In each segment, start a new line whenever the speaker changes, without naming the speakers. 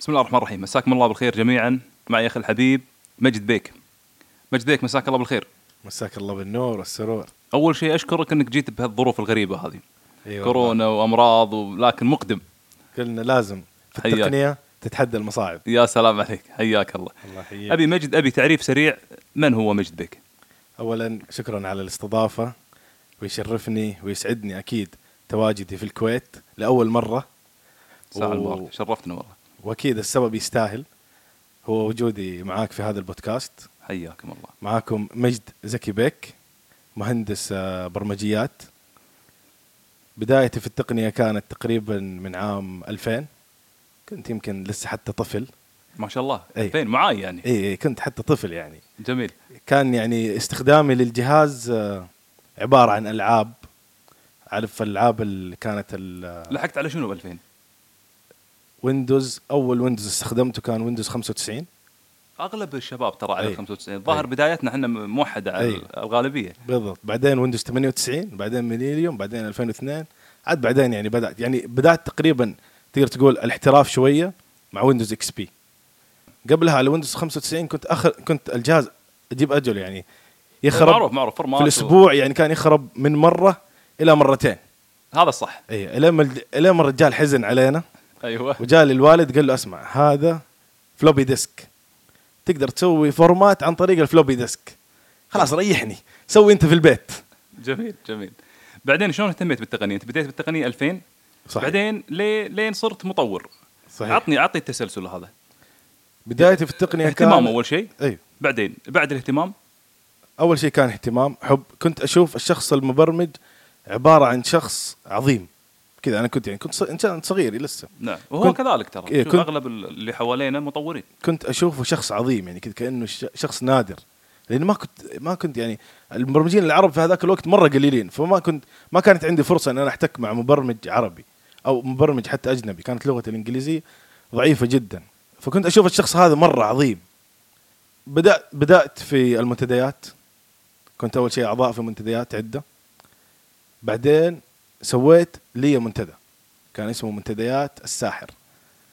بسم الله الرحمن الرحيم مساكم الله بالخير جميعا معي اخي الحبيب مجد بيك مجد بيك مساك الله بالخير
مساك الله بالنور والسرور
اول شيء اشكرك انك جيت بهالظروف الغريبه هذه
أيوة
كورونا وامراض ولكن مقدم
قلنا لازم في
حياك.
التقنيه تتحدى المصاعب
يا سلام عليك حياك الله
الله يحييك
ابي مجد ابي تعريف سريع من هو مجد بيك
اولا شكرا على الاستضافه ويشرفني ويسعدني اكيد تواجدي في الكويت لاول مره
ساعة
و-
المباركة شرفتنا والله
واكيد السبب يستاهل هو وجودي معاك في هذا البودكاست
حياكم الله
معاكم مجد زكي بيك مهندس آه، برمجيات بدايتي في التقنيه كانت تقريبا من عام 2000 كنت يمكن لسه حتى طفل
ما شاء الله
أي.
فين معاي يعني
اي إي، إيه، كنت حتى طفل يعني
جميل
كان يعني استخدامي للجهاز آه، عباره عن العاب عارف الالعاب اللي كانت آه،
لحقت على شنو ب 2000
الويندوز اول ويندوز استخدمته كان ويندوز 95
اغلب الشباب ترى على
أي.
95 الظاهر بدايتنا احنا م- موحده على
أي.
الغالبيه
بالضبط بعدين ويندوز 98 بعدين ميلينيوم بعدين 2002 عاد بعدين يعني بدات يعني بدات تقريبا تقدر تقول الاحتراف شويه مع ويندوز اكس بي قبلها على ويندوز 95 كنت اخر كنت الجهاز اجيب اجل يعني يخرب
معروف معروف فورمات
في
و-
الاسبوع يعني كان يخرب من مره الى مرتين
هذا الصح
اي الين إيه، ما الد- الين ما الرجال حزن علينا
ايوه
وجاء الوالد قال له اسمع هذا فلوبي ديسك تقدر تسوي فورمات عن طريق الفلوبي ديسك خلاص ريحني سوي انت في البيت
جميل جميل بعدين شلون اهتميت بالتقنيه؟ انت بديت بالتقنيه 2000
صحيح.
بعدين لي- لين صرت مطور
صحيح.
عطني عطني التسلسل هذا
بدايتي في التقنيه
اهتمام
يعني كان
اول شيء
اي
بعدين بعد الاهتمام
اول شيء كان اهتمام حب كنت اشوف الشخص المبرمج عباره عن شخص عظيم كذا انا كنت يعني كنت ص- انسان صغير لسه
نعم وهو
كنت-
كذلك ترى
إيه،
شوف
كنت-
اغلب ال- اللي حوالينا مطورين
كنت اشوفه شخص عظيم يعني كذا كانه ش- شخص نادر لان ما كنت ما كنت يعني المبرمجين العرب في هذاك الوقت مره قليلين فما كنت ما كانت عندي فرصه ان انا احتك مع مبرمج عربي او مبرمج حتى اجنبي كانت لغتي الانجليزيه ضعيفه جدا فكنت اشوف الشخص هذا مره عظيم بدات بدات في المنتديات كنت اول شيء اعضاء في منتديات عده بعدين سويت لي منتدى كان اسمه منتديات الساحر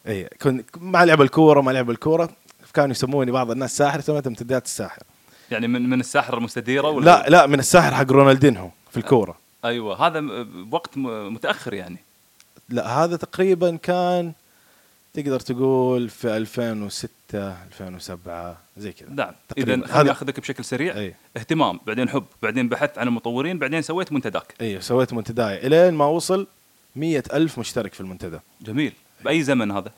اي كنت إيه، مع لعب الكوره ما لعب الكوره كانوا يسموني بعض الناس ساحر سميتهم منتديات الساحر
يعني من من الساحره المستديره ولا
لا لا من الساحر حق رونالدينهو في الكوره
ايوه هذا م- بوقت م- متاخر يعني
لا هذا تقريبا كان تقدر تقول في 2006 2007 زي كذا
نعم
تقريباً.
اذا
هذا-
خليني اخذك بشكل سريع
أي.
اهتمام بعدين حب بعدين بحثت عن المطورين بعدين سويت منتداك
ايوه سويت منتداي الين ما وصل مية ألف مشترك في المنتدى
جميل باي زمن هذا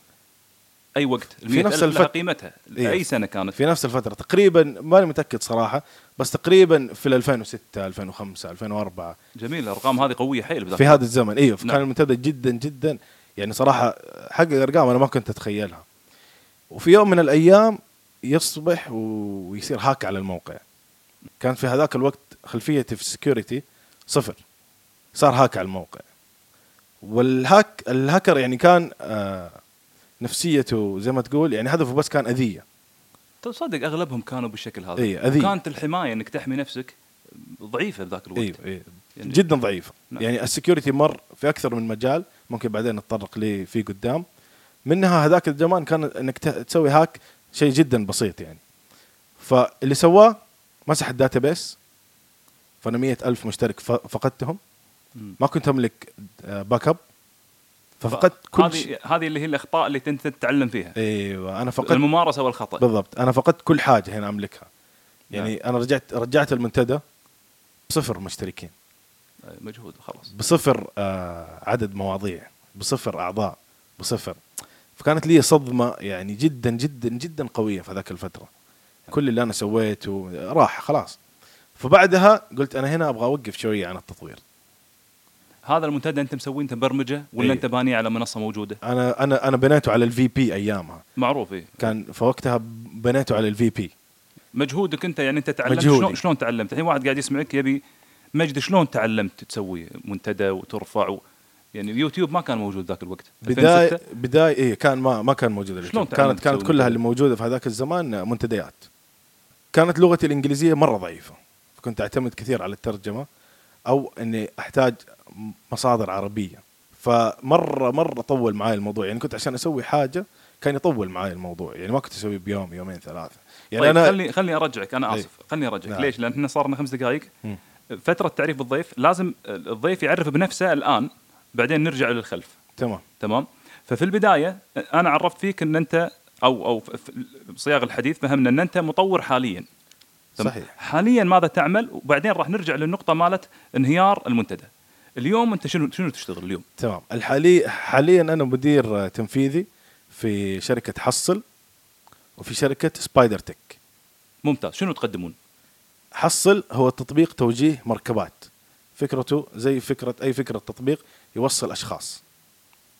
اي وقت المية
نفس
ألف لها
الفت-
قيمتها
إيه.
اي سنه كانت
في نفس الفترة تقريبا ماني متأكد صراحة بس تقريبا في 2006 2005 2004
جميل الارقام هذه قويه حيل بذاك
في هذا الزمن ايوه
نعم.
كان المنتدى جدا جدا يعني صراحه حقق ارقام انا ما كنت اتخيلها وفي يوم من الايام يصبح و- ويصير هاك على الموقع كان في هذاك الوقت خلفيتي في السكيورتي صفر صار هاك على الموقع والهاك الهاكر يعني كان آه نفسيته زي ما تقول يعني هدفه بس كان اذيه
تصدق اغلبهم طيب كانوا بالشكل هذا
إيه، أذية.
كانت الحمايه انك تحمي نفسك ضعيفه بذاك الوقت
ايوه ايوه
يعني-
جدا ضعيفه
نعم.
يعني السكيورتي مر في اكثر من مجال ممكن بعدين نتطرق ليه في قدام منها هذاك الزمان كان انك ت- تسوي هاك شيء جدا بسيط يعني فاللي سواه مسح الداتابيس فانا مية ألف مشترك ف- فقدتهم
مم.
ما كنت املك آه، باك اب ففقدت كل شيء
هذه هذه اللي هي الاخطاء اللي انت تتعلم فيها
ايوه انا فقدت
الممارسه والخطا
بالضبط انا فقدت كل حاجه هنا املكها
نعم.
يعني انا رجعت رجعت المنتدى بصفر مشتركين
آه، مجهود خلاص
بصفر آه، عدد مواضيع بصفر اعضاء بصفر فكانت لي صدمه يعني جدا جدا جدا قويه في ذاك الفتره كل اللي انا سويته راح خلاص فبعدها قلت انا هنا ابغى اوقف شويه عن التطوير
هذا المنتدى انت مسوي انت برمجه ولا
إيه.
انت بانيه على منصه موجوده
انا انا انا بنيته على الفي بي ايامها
معروف إيه.
كان فوقتها بنيته على الفي بي
مجهودك انت يعني انت تعلمت
مجهودي.
شلون شلون تعلمت الحين واحد قاعد يسمعك يبي مجد شلون تعلمت تسوي منتدى وترفع و... يعني اليوتيوب ما كان موجود ذاك الوقت
بدايه
2006
بدايه إيه كان ما ما كان موجود اليوتيوب.
تعلمت
كانت
تسوي
كانت كلها اللي
منتدى؟
موجوده في هذاك الزمان منتديات كانت لغتي الانجليزيه مره ضعيفه فكنت اعتمد كثير على الترجمه او اني احتاج مصادر عربيه فمره مره طول معي الموضوع يعني كنت عشان اسوي حاجه كان يطول معي الموضوع يعني ما كنت اسويه بيوم يومين ثلاثه
يعني
يعني
طيب
انا
أنا خلي خليني ارجعك انا
إيه.
اسف خليني ارجعك
نعم.
ليش؟ لان احنا صار لنا خمس دقائق
مم.
فتره تعريف بالضيف لازم الضيف يعرف بنفسه الان بعدين نرجع للخلف
تمام
تمام ففي البدايه انا عرفت فيك ان انت او او في- في صياغ الحديث فهمنا ان انت مطور حاليا تمام؟
صحيح.
حاليا ماذا تعمل وبعدين راح نرجع للنقطه مالت انهيار المنتدى اليوم انت شنو شنو تشتغل اليوم
تمام الحالي حاليا انا مدير آه، تنفيذي في شركه حصل وفي شركه سبايدر تك
ممتاز شنو تقدمون
حصل هو تطبيق توجيه مركبات فكرته زي فكره اي فكره تطبيق يوصل اشخاص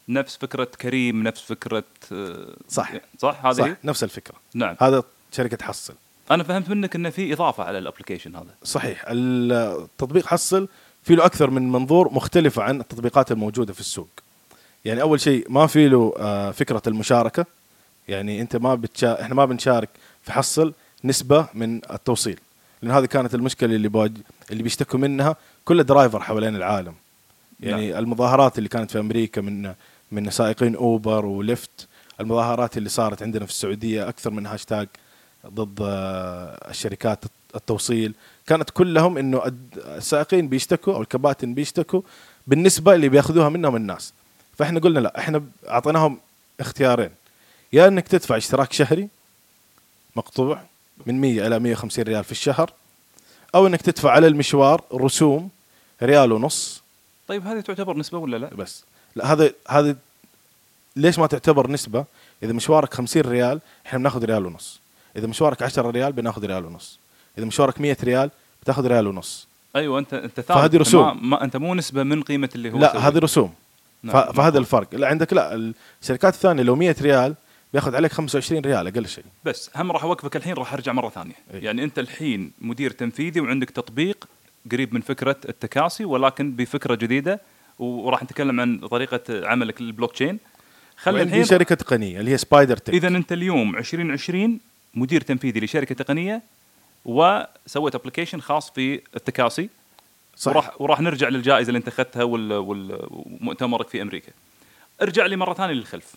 نفس فكره كريم نفس فكره آه،
صح.
صح هذه هي؟
صح نفس الفكره
نعم
هذا شركه حصل
انا فهمت منك انه في اضافه على الابلكيشن هذا
صحيح التطبيق حصل في له اكثر من منظور مختلفه عن التطبيقات الموجوده في السوق يعني اول شيء ما في له آه، فكره المشاركه يعني انت ما بتشا... احنا ما بنشارك في حصل نسبه من التوصيل لان هذه كانت المشكله اللي بواج... اللي بيشتكوا منها كل درايفر حوالين العالم يعني نعم. المظاهرات اللي كانت في امريكا من من سائقين اوبر وليفت المظاهرات اللي صارت عندنا في السعوديه اكثر من هاشتاج ضد آه، الشركات التوصيل كانت كلهم انه الد- السائقين بيشتكوا او الكباتن بيشتكوا بالنسبه اللي بياخذوها منهم الناس فاحنا قلنا لا احنا اعطيناهم اختيارين يا انك تدفع اشتراك شهري مقطوع من 100 الى 150 ريال في الشهر او انك تدفع على المشوار رسوم ريال ونص
طيب هذه تعتبر نسبه ولا لا؟
بس لا هذا هذا ليش ما تعتبر نسبه اذا مشوارك 50 ريال احنا بناخذ ريال ونص اذا مشوارك 10 ريال بناخذ ريال ونص اذا مشوارك 100 ريال بتاخذ ريال ونص
ايوه انت انت ثابت
فهذه
أنت
رسوم.
ما, ما انت مو نسبه من قيمه اللي هو
لا
سوى.
هذه رسوم ف-
نعم.
فهذا الفرق لا عندك لا الشركات الثانيه لو 100 ريال بياخذ عليك 25 ريال اقل شيء
بس هم راح اوقفك الحين راح ارجع مره ثانيه
إيه.
يعني انت الحين مدير تنفيذي وعندك تطبيق قريب من فكره التكاسي ولكن بفكره جديده وراح نتكلم عن طريقه عملك للبلوك تشين خلي
وعندي
الحين
شركه تقنيه اللي هي سبايدر تك
اذا انت اليوم 2020 مدير تنفيذي لشركه تقنيه وسويت ابلكيشن خاص في التكاسي
صح.
وراح وراح نرجع للجائزه اللي انت اخذتها وال- وال- ومؤتمرك في امريكا ارجع لي مره ثانيه للخلف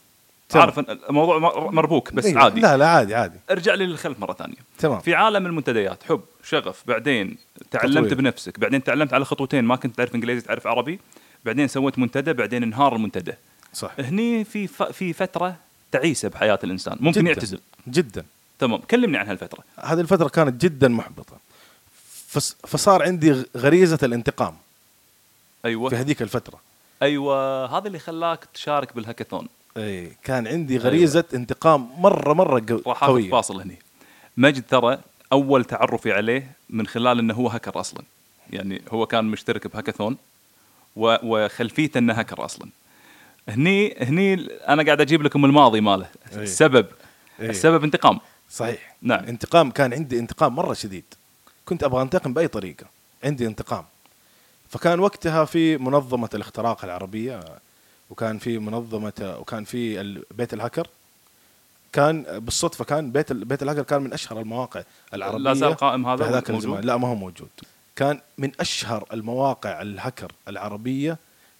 تمام.
عارف إن الموضوع مر- مربوك بس
إيه،
عادي
لا لا عادي عادي
ارجع لي للخلف مره ثانيه
تمام
في عالم المنتديات حب شغف بعدين تعلمت
تطوير.
تطوير. بنفسك بعدين تعلمت على خطوتين ما كنت تعرف انجليزي تعرف عربي بعدين سويت منتدى بعدين انهار المنتدى
صح
هني في ف... في فتره تعيسه بحياه الانسان ممكن
جداً.
يعتزل
جدا
تمام كلمني عن هالفتره
هذه الفترة كانت جدا محبطة فس- فصار عندي غ- غريزة الانتقام في
ايوه
هذيك الفترة
ايوه هذا اللي خلاك تشارك بالهاكاثون
اي إيه، كان عندي غريزة انتقام مرة مرة قو-
راح اخذ
قوية
فاصل هني مجد ترى اول تعرفي عليه من خلال انه هو هاكر اصلا يعني هو كان مشترك بهاكاثون و... وخلفيته انه هاكر اصلا هني هني انا قاعد اجيب لكم الماضي ماله
إيه.
السبب
إيه.
السبب انتقام
صحيح
نعم.
انتقام كان عندي انتقام مرة شديد كنت ابغى انتقم باي طريقة عندي انتقام فكان وقتها في منظمة الاختراق العربية وكان في منظمة وكان في ال- بيت الهاكر كان بالصدفة كان بيت ال- بيت الهاكر كان من اشهر المواقع العربية
لا زال قائم
في
هذا
هذاك
موجود.
الزمان لا ما هو موجود كان من اشهر المواقع الهكر العربيه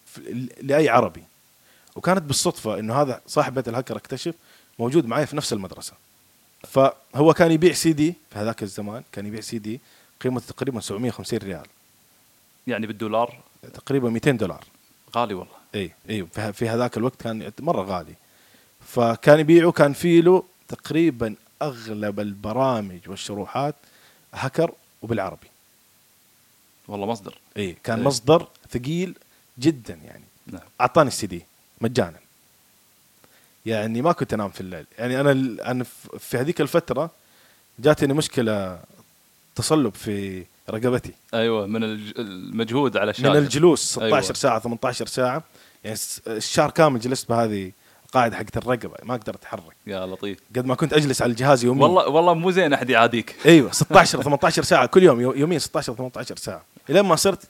في لاي عربي وكانت بالصدفه انه هذا صاحب بيت الهكر اكتشف موجود معي في نفس المدرسه فهو كان يبيع سي دي في هذاك الزمان كان يبيع سي دي قيمته تقريبا 750 ريال
يعني بالدولار
تقريبا 200 دولار
غالي والله
اي اي في- في هذاك الوقت كان مره غالي فكان يبيعه كان في له تقريبا اغلب البرامج والشروحات هكر وبالعربي
والله مصدر
اي كان
إيه.
مصدر ثقيل جدا يعني
نعم
اعطاني السي دي مجانا يعني ما كنت انام في الليل يعني انا انا ف- في هذيك الفتره جاتني مشكله تصلب في رقبتي
ايوه من الج- المجهود على
أيوة. من
الشاشه
الجلوس 16
أيوة.
ساعه 18 ساعه يعني س- الشهر كامل جلست بهذه القاعده حقت الرقبه ما اقدر اتحرك
يا لطيف
قد ما كنت اجلس على الجهاز يوميا
والله والله مو زين احد يعاديك
ايوه 16 18 ساعه كل يوم يو- يوميا 16 18 ساعه الين ما صرت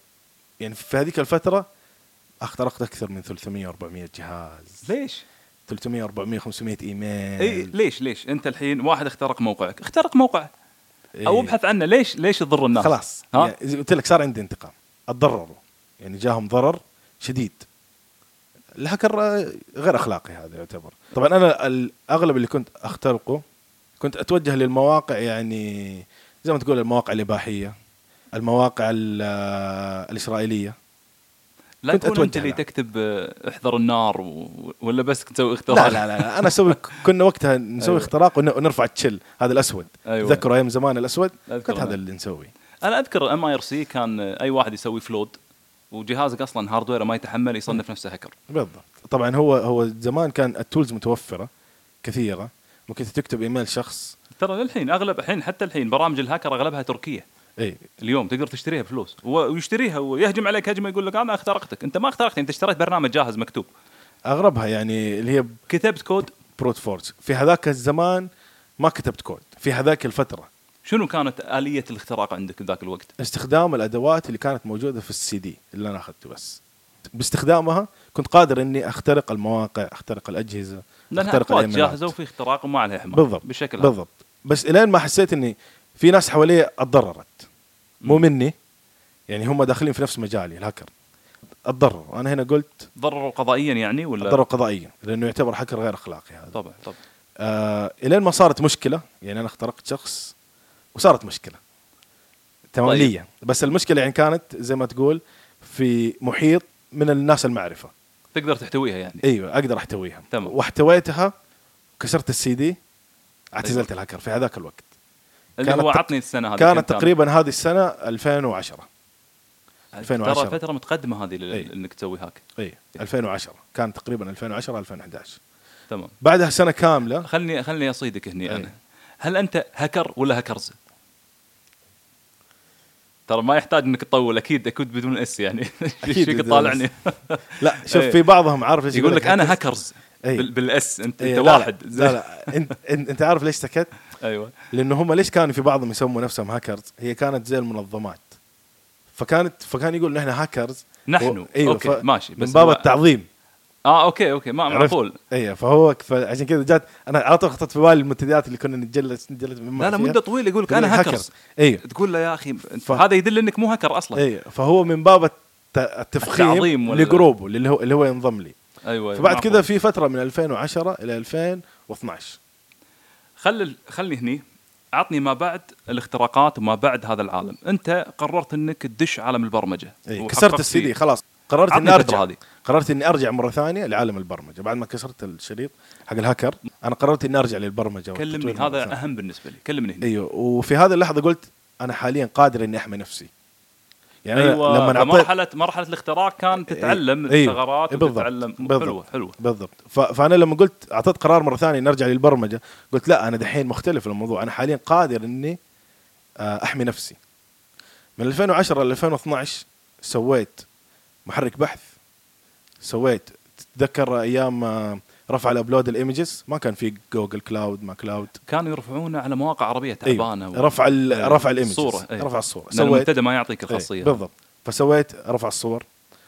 يعني في هذيك الفتره اخترقت اكثر من 300 400 جهاز
ليش؟
300 400 500 ايميل
اي ليش ليش انت الحين واحد اخترق موقعك اخترق موقعه
إيه.
او ابحث عنه ليش ليش تضر الناس
خلاص
نعم. ها
يعني زي ما قلت لك صار عندي انتقام اتضرروا يعني جاهم ضرر شديد الهكر آه، غير اخلاقي هذا يعتبر طبعا انا الاغلب اللي كنت اخترقه كنت اتوجه للمواقع يعني زي ما تقول المواقع الاباحيه المواقع ال- آه، الاسرائيليه
لا
كنت
تكون انت
أتوجه
اللي
لها.
تكتب آه، احذر النار و... ولا بس تسوي اختراع
لا لا لا, لا انا اسوي كنا وقتها نسوي
أيوة.
اختراق ون- ونرفع التشل هذا الاسود
أيوة.
تذكروا ايام زمان الاسود
أذكر نعم.
كنت هذا
أنا.
اللي نسويه
انا اذكر ام اي ار سي كان آه، اي واحد يسوي فلود وجهازك اصلا هاردويره ما يتحمل يصنف نفسه هكر
بالضبط طبعا هو هو زمان كان التولز متوفره كثيره ممكن تكتب ايميل شخص
ترى للحين اغلب الحين حتى الحين برامج الهاكر اغلبها تركيه
اي
اليوم تقدر تشتريها بفلوس و- ويشتريها ويهجم عليك هجمه يقول لك انا اخترقتك انت ما اخترقتني انت اشتريت برنامج جاهز مكتوب
اغربها يعني اللي هي
كتبت كود
بروت فورس في هذاك الزمان ما كتبت كود في هذاك الفتره
شنو كانت اليه الاختراق عندك ذاك الوقت
استخدام الادوات اللي كانت موجوده في السي دي اللي انا اخذته بس باستخدامها كنت قادر اني اخترق المواقع اخترق الاجهزه
لانها
اخترق
اكواد
الإيميلات.
جاهزه وفي اختراق وما عليها حمار
بالضبط
بشكل عام.
بالضبط بس الين ما حسيت اني في ناس حوالي اتضررت مو مني يعني هم داخلين في نفس مجالي الهكر اتضرروا انا هنا قلت
ضرروا قضائيا يعني ولا
اتضرر قضائيا لانه يعتبر حكر غير اخلاقي هذا
طبعا طبعا
آه الين ما صارت مشكله يعني انا اخترقت شخص وصارت مشكله تماميا
طيب.
بس المشكله يعني كانت زي ما تقول في محيط من الناس المعرفه
تقدر تحتويها يعني
ايوه اقدر احتويها
تمام.
واحتويتها كسرت السي دي اعتزلت
أيوة.
الهكر في هذاك الوقت
اللي
كانت
هو
تق-
عطني السنه هذه كم
كانت تقريبا هذه السنه 2010 2010.
ترى فتره متقدمه هذه لل-
إي.
انك تسوي هاك
اي 2010 كان تقريبا 2010 2011
تمام
بعدها سنه كامله
خلني خلني اصيدك هني
أي.
انا هل انت هكر ولا هكرز؟ ترى ما يحتاج انك تطول اكيد اكيد بدون اس يعني
أكيد
اكيد
بدون
طالعني
لا شوف
أي.
في بعضهم عارف ايش
إيه. يقول لك انا هكرز
أي.
بال- بالاس انت انت
أي، إيه. لا، لا.
واحد
لا لا انت انت أنت عارف ليش سكت؟
ايوه
لانه هم ليش كانوا في بعضهم يسموا نفسهم هاكرز؟ هي كانت زي المنظمات فكانت فكان يقول نحن هاكرز
نحن.
و- ايوه
أوكي، ماشي، بس
من باب
هو-
التعظيم
اه اوكي اوكي ما
عرفت؟
معقول
ايوه فهو عشان كذا جات انا على طول خطت في بالي المنتديات اللي كنا نتجلس نتجلس
لا لا مده طويله يقول لك انا هكرز
ايوه
تقول له يا اخي أنت-
ف- إيه.
هذا يدل انك مو هكر اصلا
اي فهو من باب الت- التفخيم
التعظيم ولا-
لجروبه اللي هو اللي هو ينضم لي
ايوه أيوة،
فبعد
معقول.
كذا في فتره من 2010 الى 2012
خل خلني هني عطني ما بعد الاختراقات وما بعد هذا العالم انت قررت انك تدش عالم البرمجه
اي
وحققت
إيه، كسرت السي دي
فيه.
خلاص قررت
عطني
اني
الفترة
ارجع
هذه.
قررت اني ارجع مره ثانيه لعالم البرمجه بعد ما كسرت الشريط حق الهاكر انا قررت اني ارجع للبرمجه
كلمني
والتطوير مرة
هذا
ثانية.
اهم بالنسبه لي كلمني هنا
ايوه وفي هذه اللحظه قلت انا حاليا قادر اني احمي نفسي يعني أيوة
ايوه
لما
لما
اعطيت
مرحله مرحله الاختراق كان تتعلم
أيوة،
الثغرات
بالضبط،
وتتعلم
بالضبط.
حلوه حلوه
بالضبط ف- فانا لما قلت اعطيت قرار مره ثانيه نرجع للبرمجه قلت لا انا دحين مختلف الموضوع انا حاليا قادر اني آه، احمي نفسي من 2010 ل 2012 سويت محرك بحث سويت تتذكر ايام آه، رفع الابلود الايمجز ما كان في جوجل كلاود ما كلاود
كانوا يرفعونه على مواقع عربيه تعبانه
أيوه. رفع ال-
أيوة.
رفع الايمجز
الصورة، أيوة.
رفع الصوره
لأن المنتدى ما يعطيك
أيوة،
الخاصيه
بالضبط فسويت رفع الصور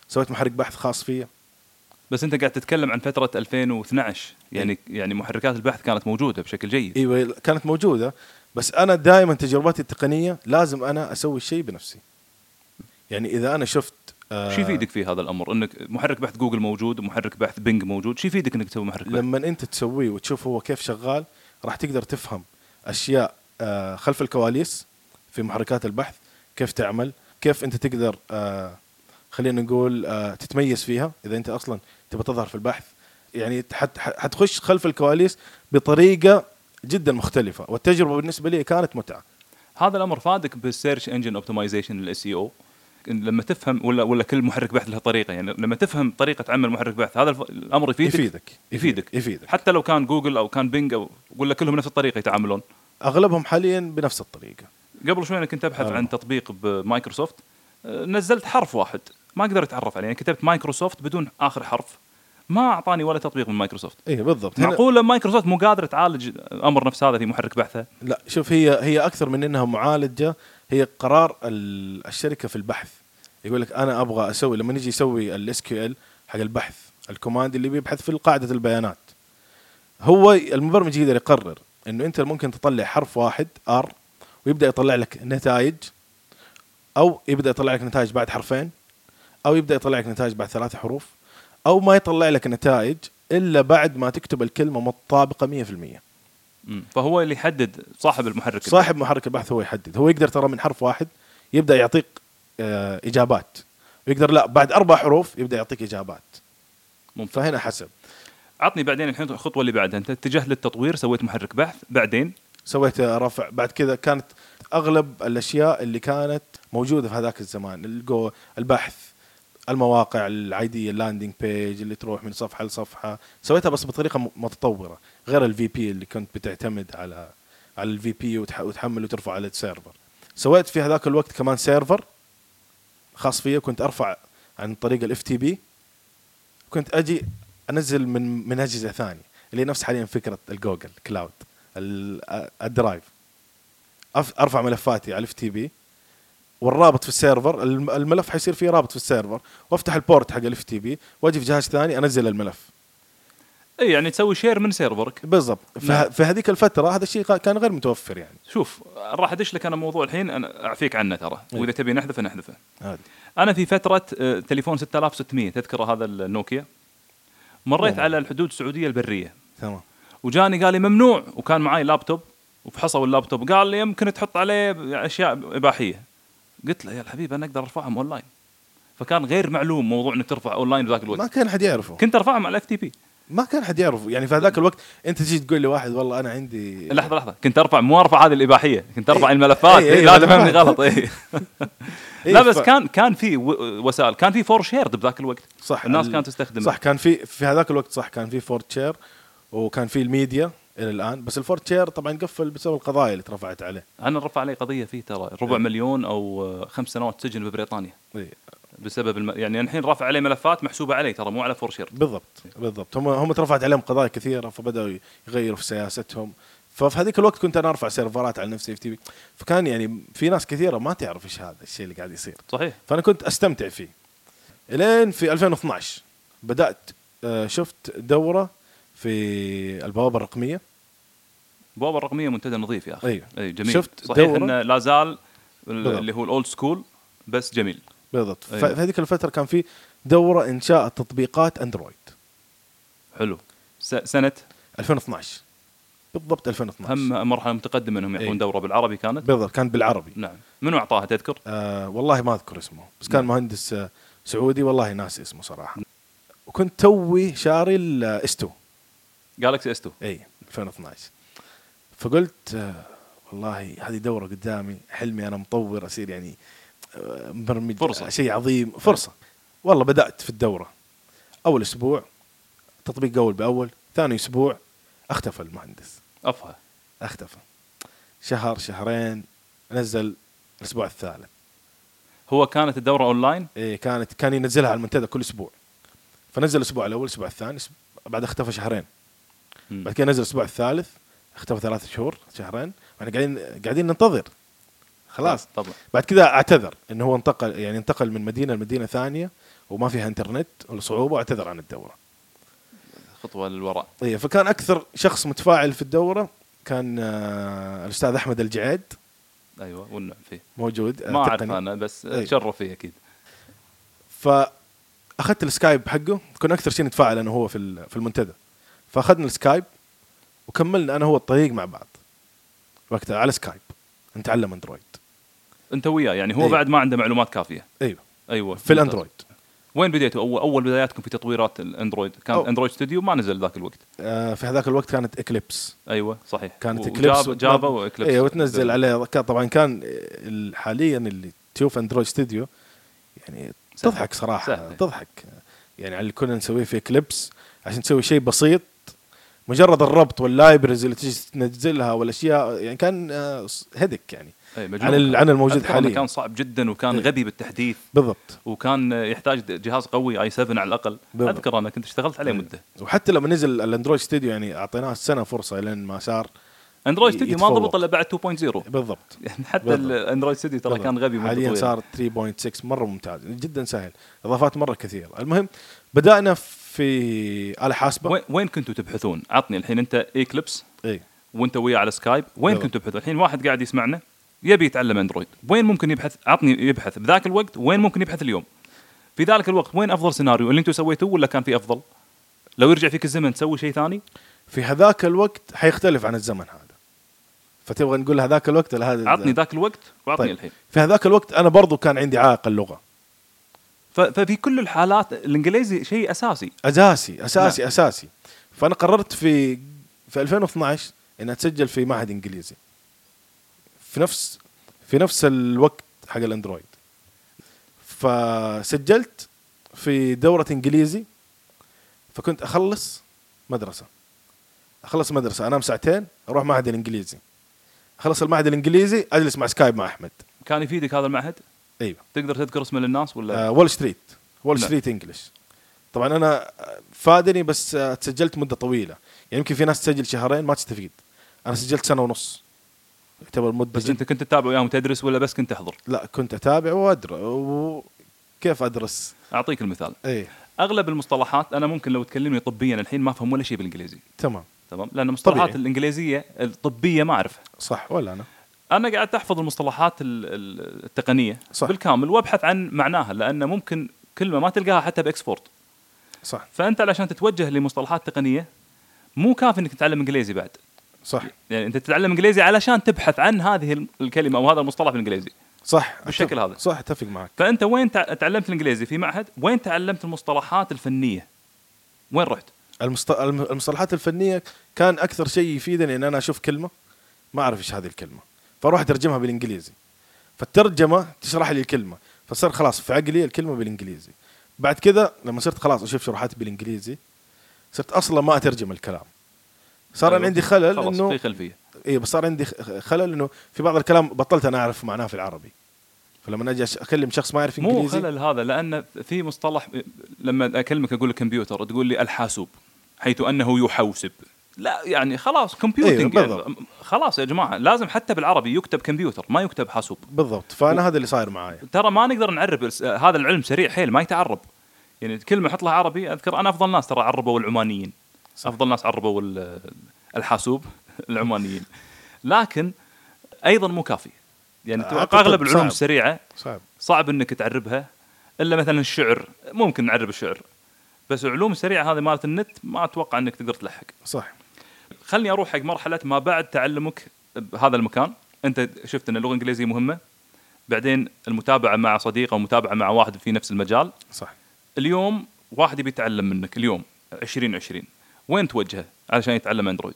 سويت محرك بحث خاص فيه
بس انت قاعد تتكلم عن فتره 2012 يعني
إيه.
يعني محركات البحث كانت موجوده بشكل جيد
ايوه كانت موجوده بس انا دائما تجربتي التقنيه لازم انا اسوي الشيء بنفسي يعني اذا انا شفت آه
شو يفيدك في هذا الامر انك محرك بحث جوجل موجود ومحرك بحث بنج موجود شو يفيدك انك تسوي محرك بحث
لما انت تسويه وتشوف هو كيف شغال راح تقدر تفهم اشياء آه خلف الكواليس في محركات البحث كيف تعمل كيف انت تقدر آه خلينا نقول آه تتميز فيها اذا انت اصلا تبى تظهر في البحث يعني حت- حتخش خلف الكواليس بطريقه جدا مختلفه والتجربه بالنسبه لي كانت متعه
هذا الامر فادك بالسيرش انجن اوبتمايزيشن الاس اي او E لما تفهم ولا ولا كل محرك بحث له طريقه يعني لما تفهم طريقه عمل محرك بحث هذا الف- الامر يفيدك
يفيدك
يفيدك
يفيدك
حتى لو كان جوجل او كان بينج او ولا كلهم نفس الطريقه يتعاملون
اغلبهم حاليا بنفس الطريقه
قبل شوي انا كنت ابحث
آه.
عن تطبيق بمايكروسوفت آه، نزلت حرف واحد ما اقدر اتعرف عليه يعني كتبت مايكروسوفت بدون اخر حرف ما اعطاني ولا تطبيق من مايكروسوفت
اي إيه، بالضبط هنا-
معقوله مايكروسوفت مو قادره تعالج امر نفس هذا في محرك بحثها
لا شوف هي هي اكثر من انها معالجه هي قرار ال- الشركه في البحث يقول لك انا ابغى اسوي لما نجي يسوي الاس كيو ال حق البحث الكوماند اللي بيبحث في قاعده البيانات هو المبرمج يقدر يقرر انه انت ممكن تطلع حرف واحد ار ويبدا يطلع لك نتائج او يبدا يطلع لك نتائج بعد حرفين او يبدا يطلع لك نتائج بعد ثلاث حروف او ما يطلع لك نتائج الا بعد ما تكتب الكلمه متطابقه 100%
مم. فهو اللي يحدد صاحب المحرك
صاحب محرك البحث هو يحدد هو يقدر ترى من حرف واحد يبدا يعطيك آه، اجابات ويقدر لا بعد اربع حروف يبدا يعطيك اجابات
ممتاز
فهنا حسب
عطني بعدين الحين الخطوه اللي بعدها انت اتجهت للتطوير سويت محرك بحث بعدين
سويت رفع بعد كذا كانت اغلب الاشياء اللي كانت موجوده في هذاك الزمان الجو البحث المواقع العاديه اللاندنج بيج اللي تروح من صفحه لصفحه سويتها بس بطريقه م- متطوره غير الفي بي اللي كنت بتعتمد على على الفي بي وتحمل وترفع على السيرفر سويت في هذاك الوقت كمان سيرفر خاص فيه كنت ارفع عن طريق الاف تي بي كنت اجي انزل من من اجهزه ثانيه اللي نفس حاليا فكره الجوجل كلاود ال- الدرايف أف- ارفع ملفاتي على الاف تي بي والرابط في السيرفر الم- الملف حيصير فيه رابط في السيرفر وافتح البورت حق الاف تي بي واجي في جهاز ثاني انزل الملف
اي يعني تسوي شير من سيرفرك
بالضبط في,
نعم.
ه- في هذيك الفتره هذا الشيء كا- كان غير متوفر يعني
شوف راح ادش لك انا موضوع الحين انا اعفيك عنه ترى
إيه.
واذا تبي نحذفه نحذفه
هذا
انا في فتره آه، تليفون 6600 تذكره هذا النوكيا مريت
أوه.
على الحدود السعوديه البريه
تمام
وجاني قال لي ممنوع وكان معي لابتوب وفحصوا اللابتوب قال لي يمكن تحط عليه اشياء اباحيه قلت له يا الحبيب انا اقدر ارفعهم اونلاين فكان غير معلوم موضوع انك ترفع اونلاين بذاك
ما
الوقت
كان حد يعرفه
كنت ارفعهم على اف تي بي
ما كان حد يعرفه يعني في هذاك الوقت انت تجي تقول لي واحد والله انا عندي
لحظه لحظه إيه. كنت ارفع مو ارفع هذه الاباحيه كنت ارفع
إيه.
الملفات
إيه، إيه،
لا
ملفات.
تفهمني غلط اي
إيه،
لا بس
ف-
كان كان في و- وسائل كان في فور شيرد بذاك الوقت
صح
الناس
ال-
كانت تستخدمه
صح كان في في هذاك الوقت صح كان في فورد شير وكان في الميديا الى الان بس الفورد شير طبعا قفل بسبب القضايا اللي اترفعت عليه
انا رفع علي قضيه فيه ترى ربع
إيه.
مليون او آه، خمس سنوات سجن ببريطانيا
إيه،
بسبب الم... يعني الحين رافع عليه ملفات محسوبه علي ترى مو على فور شيرد
بالضبط بالضبط هم هم اترفعت عليهم قضايا كثيره فبداوا يغيروا في سياستهم ففي هذيك الوقت كنت انا ارفع سيرفرات على نفسي في تي في فكان يعني في ناس كثيره ما تعرف ايش هذا الشيء اللي قاعد يصير
صحيح
فانا كنت استمتع فيه الين في 2012 بدات آه، شفت دوره في البوابه الرقميه
البوابه الرقميه منتدى نظيف يا اخي
أيوة.
اي جميل
شفت
صحيح
دورة؟
انه لا زال ال-
بالضبط.
اللي هو الاولد سكول بس جميل
بالضبط ف-
أيوة.
في هذيك الفتره كان في دوره انشاء تطبيقات اندرويد
حلو س... سنه
2012 بالضبط 2012
هم مرحله متقدمه انهم يعطون
إيه.
دوره بالعربي كانت
بالضبط كان بالعربي
نعم منو اعطاها تذكر؟
آه والله ما اذكر اسمه بس
نعم.
كان مهندس آه سعودي والله ناسي اسمه صراحه وكنت توي شاري آه، الاستو
جالكسي اس 2
اي 2012 فقلت آه والله هذه دوره قدامي حلمي انا مطور اصير يعني آه، مبرمج
فرصة.
شيء عظيم فرصه والله بدات في الدوره اول اسبوع تطبيق اول باول ثاني اسبوع اختفى المهندس
افها
اختفى شهر شهرين نزل الاسبوع الثالث
هو كانت الدوره اونلاين
إيه كانت كان ينزلها على المنتدى كل اسبوع فنزل الاسبوع الاول الاسبوع الثاني أسب- بعد اختفى شهرين
مم.
بعد كده نزل الاسبوع الثالث اختفى ثلاث شهور شهرين واحنا قاعدين قاعدين ننتظر خلاص
طبعا
بعد كده اعتذر انه هو انتقل يعني انتقل من مدينه لمدينه ثانيه وما فيها انترنت والصعوبه واعتذر عن الدوره
خطوه للوراء
إيه فكان اكثر شخص متفاعل في الدوره كان آه الاستاذ احمد الجعيد
ايوه والنعم فيه
موجود آه،
ما اعرف
تقني.
انا بس
إيه.
تشرف فيه اكيد
فاخذت السكايب حقه كنا اكثر شيء نتفاعل انا وهو في ال- في المنتدى فاخذنا السكايب وكملنا انا هو الطريق مع بعض وقتها على سكايب نتعلم اندرويد
انت وياه يعني هو
إيه.
بعد ما عنده معلومات كافيه
ايوه
ايوه
في الاندرويد
وين بديتوا اول اول بداياتكم في تطويرات الاندرويد كانت
أو-
اندرويد ستوديو ما نزل ذاك الوقت
آه في هذاك الوقت كانت اكليبس
ايوه صحيح
كانت
و-
اكليبس
جافا- جافا واكليبس
ايوه
إيه.
وتنزل عليه كان- طبعا كان ال- حاليا اللي تشوف اندرويد ستوديو يعني
سهل.
تضحك صراحه
سهل.
تضحك يعني على اللي كنا نسويه في اكليبس عشان تسوي شيء بسيط مجرد الربط واللايبرز اللي تجي تنزلها والاشياء يعني كان آه، ص- هيدك يعني
أي إيه، مجنون
عن ال-
كان.
عن الموجود
أذكر إنه
حاليا.
كان صعب جدا وكان
إيه.
غبي بالتحديث
بالضبط
وكان يحتاج جهاز قوي اي 7 على الاقل
بالضبط. أيوة.
اذكر انا كنت اشتغلت عليه مده
وحتى لما نزل الاندرويد ستوديو يعني اعطيناه سنه فرصه لين ما صار
اندرويد ستوديو ما
يتفوق.
ضبط الا بعد 2.0
بالضبط
يعني حتى
بالضبط.
الاندرويد ستوديو ترى
بالضبط.
كان غبي من
حاليا
تطويره.
صار 3.6 مره ممتاز جدا سهل اضافات مره كثيره المهم بدانا في اله حاسبه
وين- وين كنتوا تبحثون؟ عطني الحين انت ايكليبس
اي
وانت وياه على سكايب وين
بالضبط.
كنتوا تبحثون؟ الحين واحد قاعد يسمعنا يبي يتعلم اندرويد وين ممكن يبحث عطني يبحث بذاك الوقت وين ممكن يبحث اليوم في ذلك الوقت وين افضل سيناريو اللي انتم سويتوه ولا كان في افضل؟ لو يرجع فيك الزمن تسوي شيء ثاني؟
في هذاك الوقت حيختلف عن الزمن هذا فتبغى نقول هذاك الوقت ولا هذا
عطني
الزمن؟
ذاك الوقت واعطني
طيب.
الحين
في هذاك الوقت انا برضو كان عندي عائق اللغه
ف- ففي كل الحالات الانجليزي شيء اساسي
اساسي اساسي نعم. اساسي فانا قررت في في 2012 ان اتسجل في معهد انجليزي في نفس في نفس الوقت حق الاندرويد فسجلت في دورة انجليزي فكنت اخلص مدرسة اخلص مدرسة انام ساعتين اروح معهد الانجليزي اخلص المعهد الانجليزي اجلس مع سكايب مع احمد
كان يفيدك هذا المعهد
ايوه
تقدر تذكر اسمه للناس ولا
آه، وول ستريت وول
لا.
ستريت انجلش طبعا انا آه، فادني بس آه، تسجلت مده طويله يعني يمكن في ناس تسجل شهرين ما تستفيد انا سجلت سنه ونص يعتبر مده
بس
جد...
انت كنت تتابع وياهم تدرس ولا بس كنت تحضر
لا كنت اتابع وادرى وكيف ادرس
اعطيك المثال
اي
اغلب المصطلحات انا ممكن لو تكلمني طبيا الحين ما افهم ولا شيء بالانجليزي
تمام
تمام لان المصطلحات
طبيعي.
الانجليزيه الطبيه ما اعرفها
صح ولا انا
انا قاعد احفظ المصطلحات ال- ال- التقنيه
صح.
بالكامل وابحث عن معناها لان ممكن كلمه ما تلقاها حتى باكسبورت
صح
فانت علشان تتوجه لمصطلحات تقنيه مو كافي انك تتعلم انجليزي بعد
صح
يعني انت تتعلم انجليزي علشان تبحث عن هذه ال- الكلمه او هذا المصطلح بالانجليزي
صح
بالشكل
أتفق-
هذا.
صح اتفق معك
فانت وين تع- تعلمت الانجليزي في معهد وين تعلمت المصطلحات الفنيه وين رحت
المصط... الم- المصطلحات الفنيه كان اكثر شيء يفيدني ان انا اشوف كلمه ما اعرف ايش هذه الكلمه فاروح اترجمها بالانجليزي فالترجمه تشرح لي الكلمه فصار خلاص في عقلي الكلمه بالانجليزي بعد كذا لما صرت خلاص اشوف شروحات بالانجليزي صرت اصلا ما اترجم الكلام صار أنا عندي خلل
أيوة، خلاص
انه
في خلفيه
اي بس صار عندي خ- خلل انه في بعض الكلام بطلت انا اعرف معناه في العربي فلما اجي أش- اكلم شخص ما يعرف
مو
انجليزي
خلل هذا لان في مصطلح لما اكلمك اقول لك كمبيوتر تقول لي الحاسوب حيث انه يحوسب لا يعني خلاص كمبيوتنج
أيوة، بالضبط.
يعني خلاص يا جماعه لازم حتى بالعربي يكتب كمبيوتر ما يكتب حاسوب
بالضبط فانا هذا اللي صاير معايا
ترى ما نقدر نعرب الس- هذا العلم سريع حيل ما يتعرب يعني كلمه حط لها عربي اذكر انا افضل ناس ترى عربوا العمانيين
صح.
افضل ناس عربوا ال- الحاسوب العمانيين لكن ايضا مو كافي يعني
أعتقد
اغلب العلوم
صعب.
السريعه
صعب
صعب انك تعربها الا مثلا الشعر ممكن نعرب الشعر بس العلوم السريعه هذه مالت النت ما اتوقع انك تقدر تلحق
صح
خلني اروح حق مرحله ما بعد تعلمك بهذا المكان انت شفت ان اللغه الانجليزيه مهمه بعدين المتابعه مع صديق او متابعه مع واحد في نفس المجال
صح
اليوم واحد يبي يتعلم منك اليوم 2020 وين توجهه علشان يتعلم اندرويد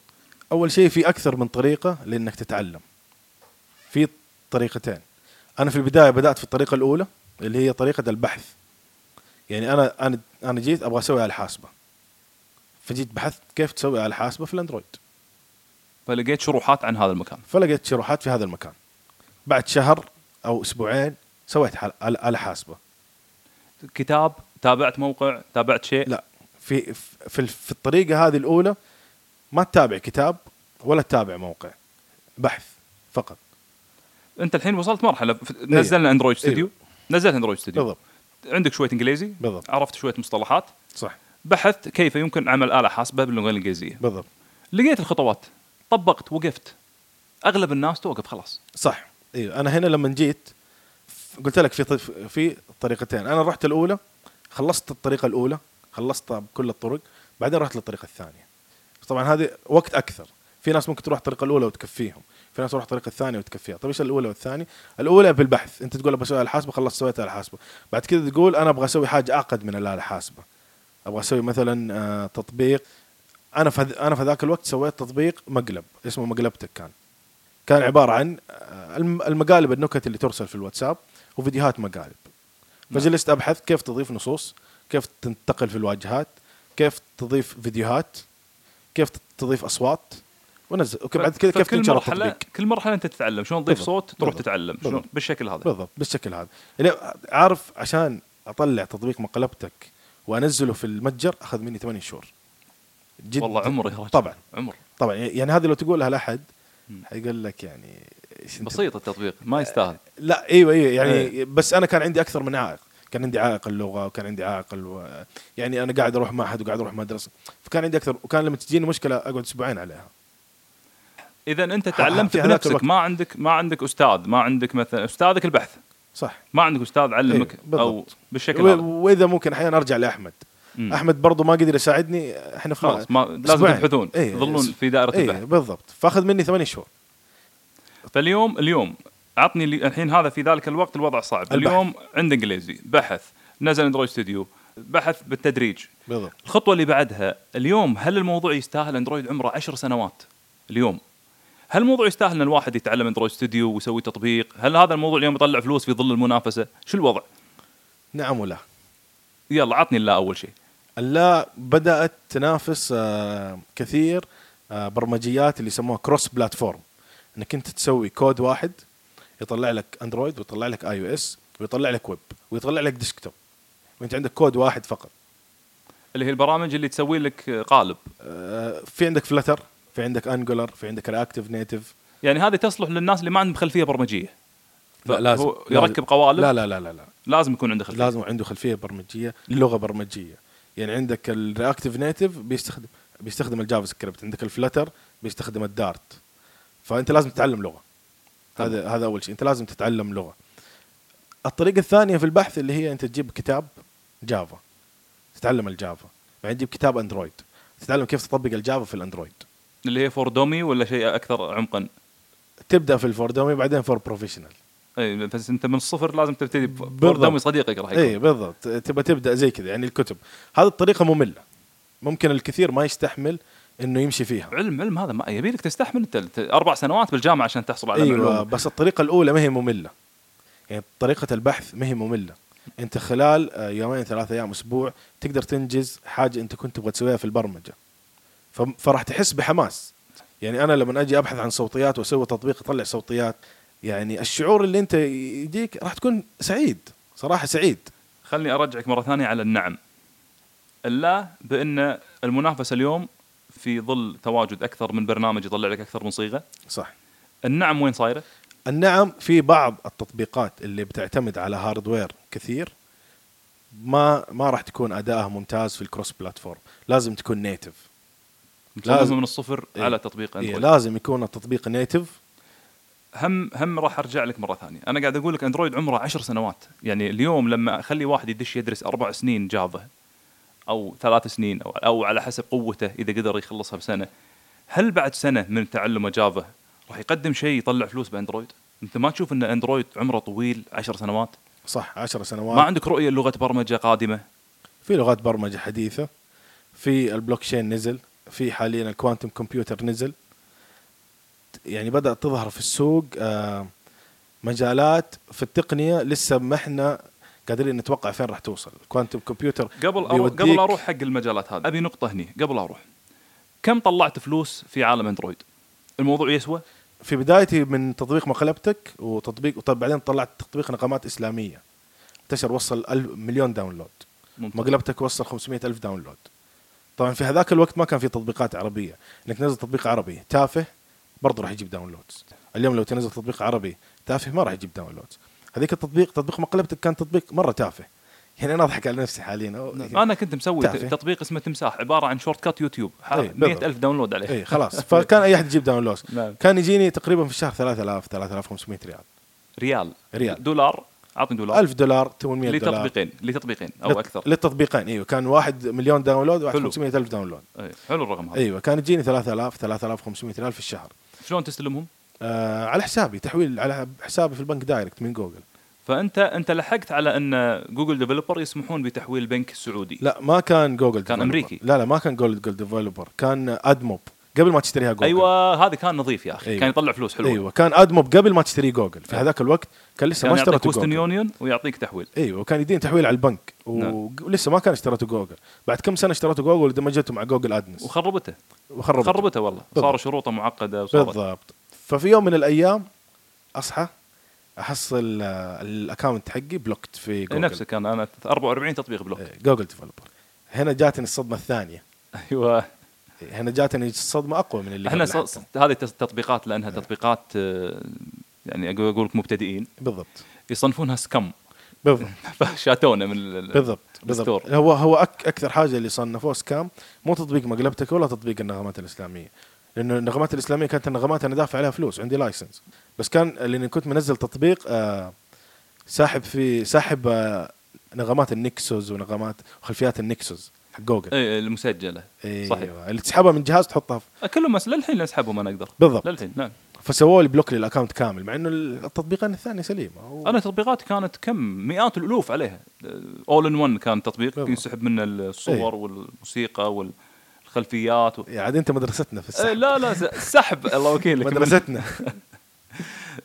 اول شيء في اكثر من طريقه لانك تتعلم في طريقتين انا في البدايه بدات في الطريقه الاولى اللي هي طريقه البحث يعني انا انا انا جيت ابغى اسوي على الحاسبه فجيت بحثت كيف تسوي على الحاسبه في الاندرويد
فلقيت شروحات عن هذا المكان
فلقيت شروحات في هذا المكان بعد شهر او اسبوعين سويت حل- على على حاسبه
كتاب تابعت موقع تابعت شيء
لا في في في الطريقه هذه الاولى ما تتابع كتاب ولا تتابع موقع بحث فقط
انت الحين وصلت مرحله ف- نزلنا اندرويد ستوديو نزلت اندرويد ستوديو
بالضبط
عندك شويه انجليزي
بالضبط.
عرفت شويه مصطلحات
صح
بحثت كيف يمكن عمل اله حاسبه باللغه الانجليزيه
بالضبط
لقيت الخطوات طبقت وقفت اغلب الناس توقف خلاص
صح ايوه انا هنا لما جيت ف- قلت لك في طف- في طريقتين انا رحت الاولى خلصت الطريقه الاولى خلصتها بكل الطرق بعدين رحت للطريقه الثانيه طبعا هذه وقت اكثر في ناس ممكن تروح الطريقه الاولى وتكفيهم في ناس تروح الطريقه الثانيه وتكفيها طيب ايش الاولى والثانيه الاولى بالبحث انت تقول ابغى اسوي آلة حاسبه خلصت سويتها آلة حاسبه بعد كذا تقول انا ابغى اسوي حاجه اعقد من الآلة الحاسبه ابغى اسوي مثلا آه، تطبيق انا في هذ- انا في ذاك الوقت سويت تطبيق مقلب اسمه مقلبتك كان كان عباره عن آه، الم- المقالب النكت اللي ترسل في الواتساب وفيديوهات مقالب
نعم.
فجلست ابحث كيف تضيف نصوص كيف تنتقل في الواجهات كيف تضيف فيديوهات كيف تضيف اصوات ونزل اوكي بعد كذا كيف
فكل
تنشر
مرحلة-
التطبيق
كل مرحله انت تتعلم شلون تضيف
بالضبط.
صوت تروح
بالضبط.
تتعلم شلون
بالضبط.
بالشكل هذا
بالضبط بالشكل هذا يعني عارف عشان اطلع تطبيق مقلبتك وانزله في المتجر اخذ مني 8 شهور جد
والله عمري يا رجل.
طبعا
عمر
طبعا يعني هذه لو تقولها لاحد
مم.
حيقول لك يعني إيش أنت
بسيط التطبيق
إيه.
ما يستاهل
لا ايوه ايوه يعني
إيه.
بس انا كان عندي اكثر من عائق كان عندي عائق اللغه وكان عندي عائق الو... يعني انا قاعد اروح معهد وقاعد اروح مدرسه فكان عندي اكثر وكان لما تجيني مشكله اقعد اسبوعين عليها
اذا انت
ح- في
تعلمت
هذاك
بنفسك
الوقت.
ما عندك ما عندك استاذ ما عندك مثلا استاذك البحث
صح
ما عندك استاذ علمك
إيه، بالضبط.
او بالشكل
و-
هذا
واذا ممكن احيانا ارجع لاحمد
مم.
احمد برضو ما قدر يساعدني احنا في
خلاص ما لازم
أسبوعين.
تبحثون
إيه،
يظلون
أس-
في دائره
اي
البحث
بالضبط فاخذ مني ثمانية شهور
فاليوم اليوم عطني لي الحين هذا في ذلك الوقت الوضع صعب
البحث.
اليوم عند انجليزي بحث نزل اندرويد ستوديو بحث بالتدريج
بالضبط
الخطوه اللي بعدها اليوم هل الموضوع يستاهل اندرويد عمره عشر سنوات اليوم هل الموضوع يستاهل ان الواحد يتعلم اندرويد ستوديو ويسوي تطبيق هل هذا الموضوع اليوم يطلع فلوس في ظل المنافسه شو الوضع
نعم ولا
يلا عطني الله اول شيء
اللا بدات تنافس آه، كثير آه، برمجيات اللي يسموها كروس بلاتفورم انك انت تسوي كود واحد يطلع لك اندرويد ويطلع لك اي او اس ويطلع لك ويب ويطلع لك ديسكتوب وانت عندك كود واحد فقط
اللي هي البرامج اللي تسوي لك قالب
آه، في عندك فلتر في عندك انجولار في عندك رياكتيف نيتف
يعني هذه تصلح للناس اللي ما عندهم خلفيه برمجيه
لا لازم
هو يركب قوالب
لا لا لا لا, لا.
لازم يكون عنده خلفيه
لازم عنده خلفيه برمجيه لغه برمجيه يعني عندك الرياكتيف نيتف بيستخدم بيستخدم الجافا سكريبت عندك الفلتر بيستخدم الدارت فانت لازم تتعلم لغه هذا هذا اول شيء انت لازم تتعلم لغه الطريقه الثانيه في البحث اللي هي انت تجيب كتاب جافا تتعلم الجافا بعدين تجيب كتاب اندرويد تتعلم كيف تطبق الجافا في الاندرويد
اللي هي فور دومي ولا شيء اكثر عمقا
تبدا في الفور دومي بعدين فور بروفيشنال
اي إيه، بس انت من الصفر لازم تبتدي فور
بالضبط. إيه.
دومي صديقك راح يكون
اي بالضبط تبى تبدا زي كذا يعني الكتب هذه الطريقه ممله ممكن الكثير ما يستحمل انه يمشي فيها
علم علم هذا ما يبي لك تستحمل انت ت- اربع سنوات بالجامعه عشان تحصل على
ايوه
معلومه
بس الطريقه الاولى ما هي ممله يعني طريقه البحث ما هي ممله انت خلال آه، يومين ثلاثة ايام اسبوع تقدر تنجز حاجه انت كنت تبغى تسويها في البرمجه ف- فراح تحس بحماس يعني انا لما اجي ابحث عن صوتيات واسوي تطبيق يطلع صوتيات يعني الشعور اللي انت يجيك راح تكون سعيد صراحه سعيد
خلني ارجعك مره ثانيه على النعم الا بان المنافسه اليوم في ظل تواجد اكثر من برنامج يطلع لك اكثر من صيغه
صح
النعم وين صايره
النعم في بعض التطبيقات اللي بتعتمد على هاردوير كثير ما ما راح تكون ادائها ممتاز في الكروس بلاتفورم لازم تكون نيتف
لازم
لازم-
من الصفر
إيه.
على تطبيق
إيه
اندرويد
لازم يكون التطبيق نيتف
هم هم راح ارجع لك مره ثانيه انا قاعد اقول لك اندرويد عمره عشر سنوات يعني اليوم لما اخلي واحد يدش يدرس اربع سنين جافا او ثلاث سنين او او على حسب قوته اذا قدر يخلصها بسنه هل بعد سنه من تعلمه جافا راح يقدم شيء يطلع فلوس باندرويد انت ما تشوف ان اندرويد عمره طويل عشر سنوات
صح 10
ما
سنوات
عندك رؤيه لغه برمجه قادمه
في لغات برمجه حديثه في البلوك تشين نزل في حاليا الكوانتم كمبيوتر نزل يعني بدات تظهر في السوق آه، مجالات في التقنيه لسه ما احنا قادرين نتوقع فين راح توصل الكوانتم كمبيوتر
قبل أرو...
بيوديك-
قبل اروح حق المجالات هذه ابي نقطه هني قبل اروح كم طلعت فلوس في عالم اندرويد الموضوع يسوى
في بدايتي من تطبيق مقلبتك وتطبيق وطب بعدين طلعت تطبيق نغمات اسلاميه انتشر وصل ألف مليون داونلود
ممتاز.
مقلبتك وصل 500 الف داونلود طبعا في هذاك الوقت ما كان في تطبيقات عربيه انك تنزل تطبيق عربي تافه برضه راح يجيب داونلودز اليوم لو تنزل تطبيق عربي تافه ما راح يجيب داونلودز هذيك التطبيق تطبيق مقلبتك كان تطبيق مره تافه يعني انا اضحك على نفسي حاليا أو- يعني-
انا كنت مسوي
تعرفي.
تطبيق اسمه تمساح عباره عن شورت كات يوتيوب
إيه، بالضبط.
100 الف داونلود عليه
اي إيه، خلاص فكان اي احد يجيب داونلودز
نعم.
كان يجيني تقريبا في الشهر 3000 3500 ريال
ريال
ريال.
دولار عطني دولار
1000 دولار 800 دولار
لتطبيقين لتطبيقين او
للت-
اكثر
للتطبيقين ايوه كان واحد مليون داونلود وواحد
حلو.
500 الف داونلود
إيه، حلو الرقم هذا
ايوه كان يجيني 3000 3500 ريال في الشهر
شلون تستلمهم
آه على حسابي تحويل على حسابي في البنك دايركت من جوجل
فانت انت لحقت على ان جوجل ديفلوبر يسمحون بتحويل بنك سعودي
لا ما كان جوجل
كان
developer.
أمريكي.
لا لا ما كان جوجل ديفلوبر كان ادموب قبل ما تشتريها جوجل
ايوه هذا كان نظيف يا اخي
أيوة.
كان يطلع فلوس حلوه
ايوه كان ادموب قبل ما تشتري جوجل في هذاك الوقت كان لسه
آه. كان
ما
يعطيك
اشتريته
وستن
جوجل
يونيون ويعطيك تحويل
ايوه وكان يدين تحويل على البنك
نعم.
و- ولسه ما كان اشتريته جوجل بعد كم سنه اشتريته جوجل ودمجته مع جوجل ادنس
وخربته
وخربته
خربته والله
بالضبط.
صار شروطه معقده وصارت
بالضبط ففي يوم من الايام اصحى احصل آه، الاكونت حقي بلوكت في جوجل
نفسه كان انا 44 تطبيق بلوك
إيه، جوجل ديفلوبر هنا جاتني الصدمه الثانيه
ايوه
إيه، هنا جاتني الصدمه اقوى من اللي
احنا
قبلها.
ص... هذه التس- التطبيقات لانها تطبيقات آه، يعني أقول- اقول لك مبتدئين
بالضبط
يصنفونها سكم
بالضبط
فشاتونا من ال- ال-
بالضبط
بالستور.
بالضبط هو هو أك اكثر حاجه اللي صنفوه سكام مو تطبيق مقلبتك ولا تطبيق النغمات الاسلاميه لانه النغمات الاسلاميه كانت النغمات انا دافع عليها فلوس عندي لايسنس بس كان لاني كنت منزل تطبيق آه ساحب في ساحب آه، نغمات النكسوس ونغمات وخلفيات النكسوس حق جوجل
اي المسجله
ايوه
إيه، صحيح
اللي تسحبها من جهاز تحطها في-
كلهم مس... للحين اسحبهم انا اقدر
بالضبط
للحين نعم
فسووا لي بلوك للاكونت كامل مع انه التطبيقين الثانيه سليمه هو-
انا تطبيقاتي كانت كم مئات الالوف عليها آه، اول ان 1 كان تطبيق
بالضبط. إيه.
ينسحب منه الصور والموسيقى والخلفيات و...
يا عاد انت يعني مدرستنا في
آه،
السحب
لا لا س- سحب الله وكيلك
مدرستنا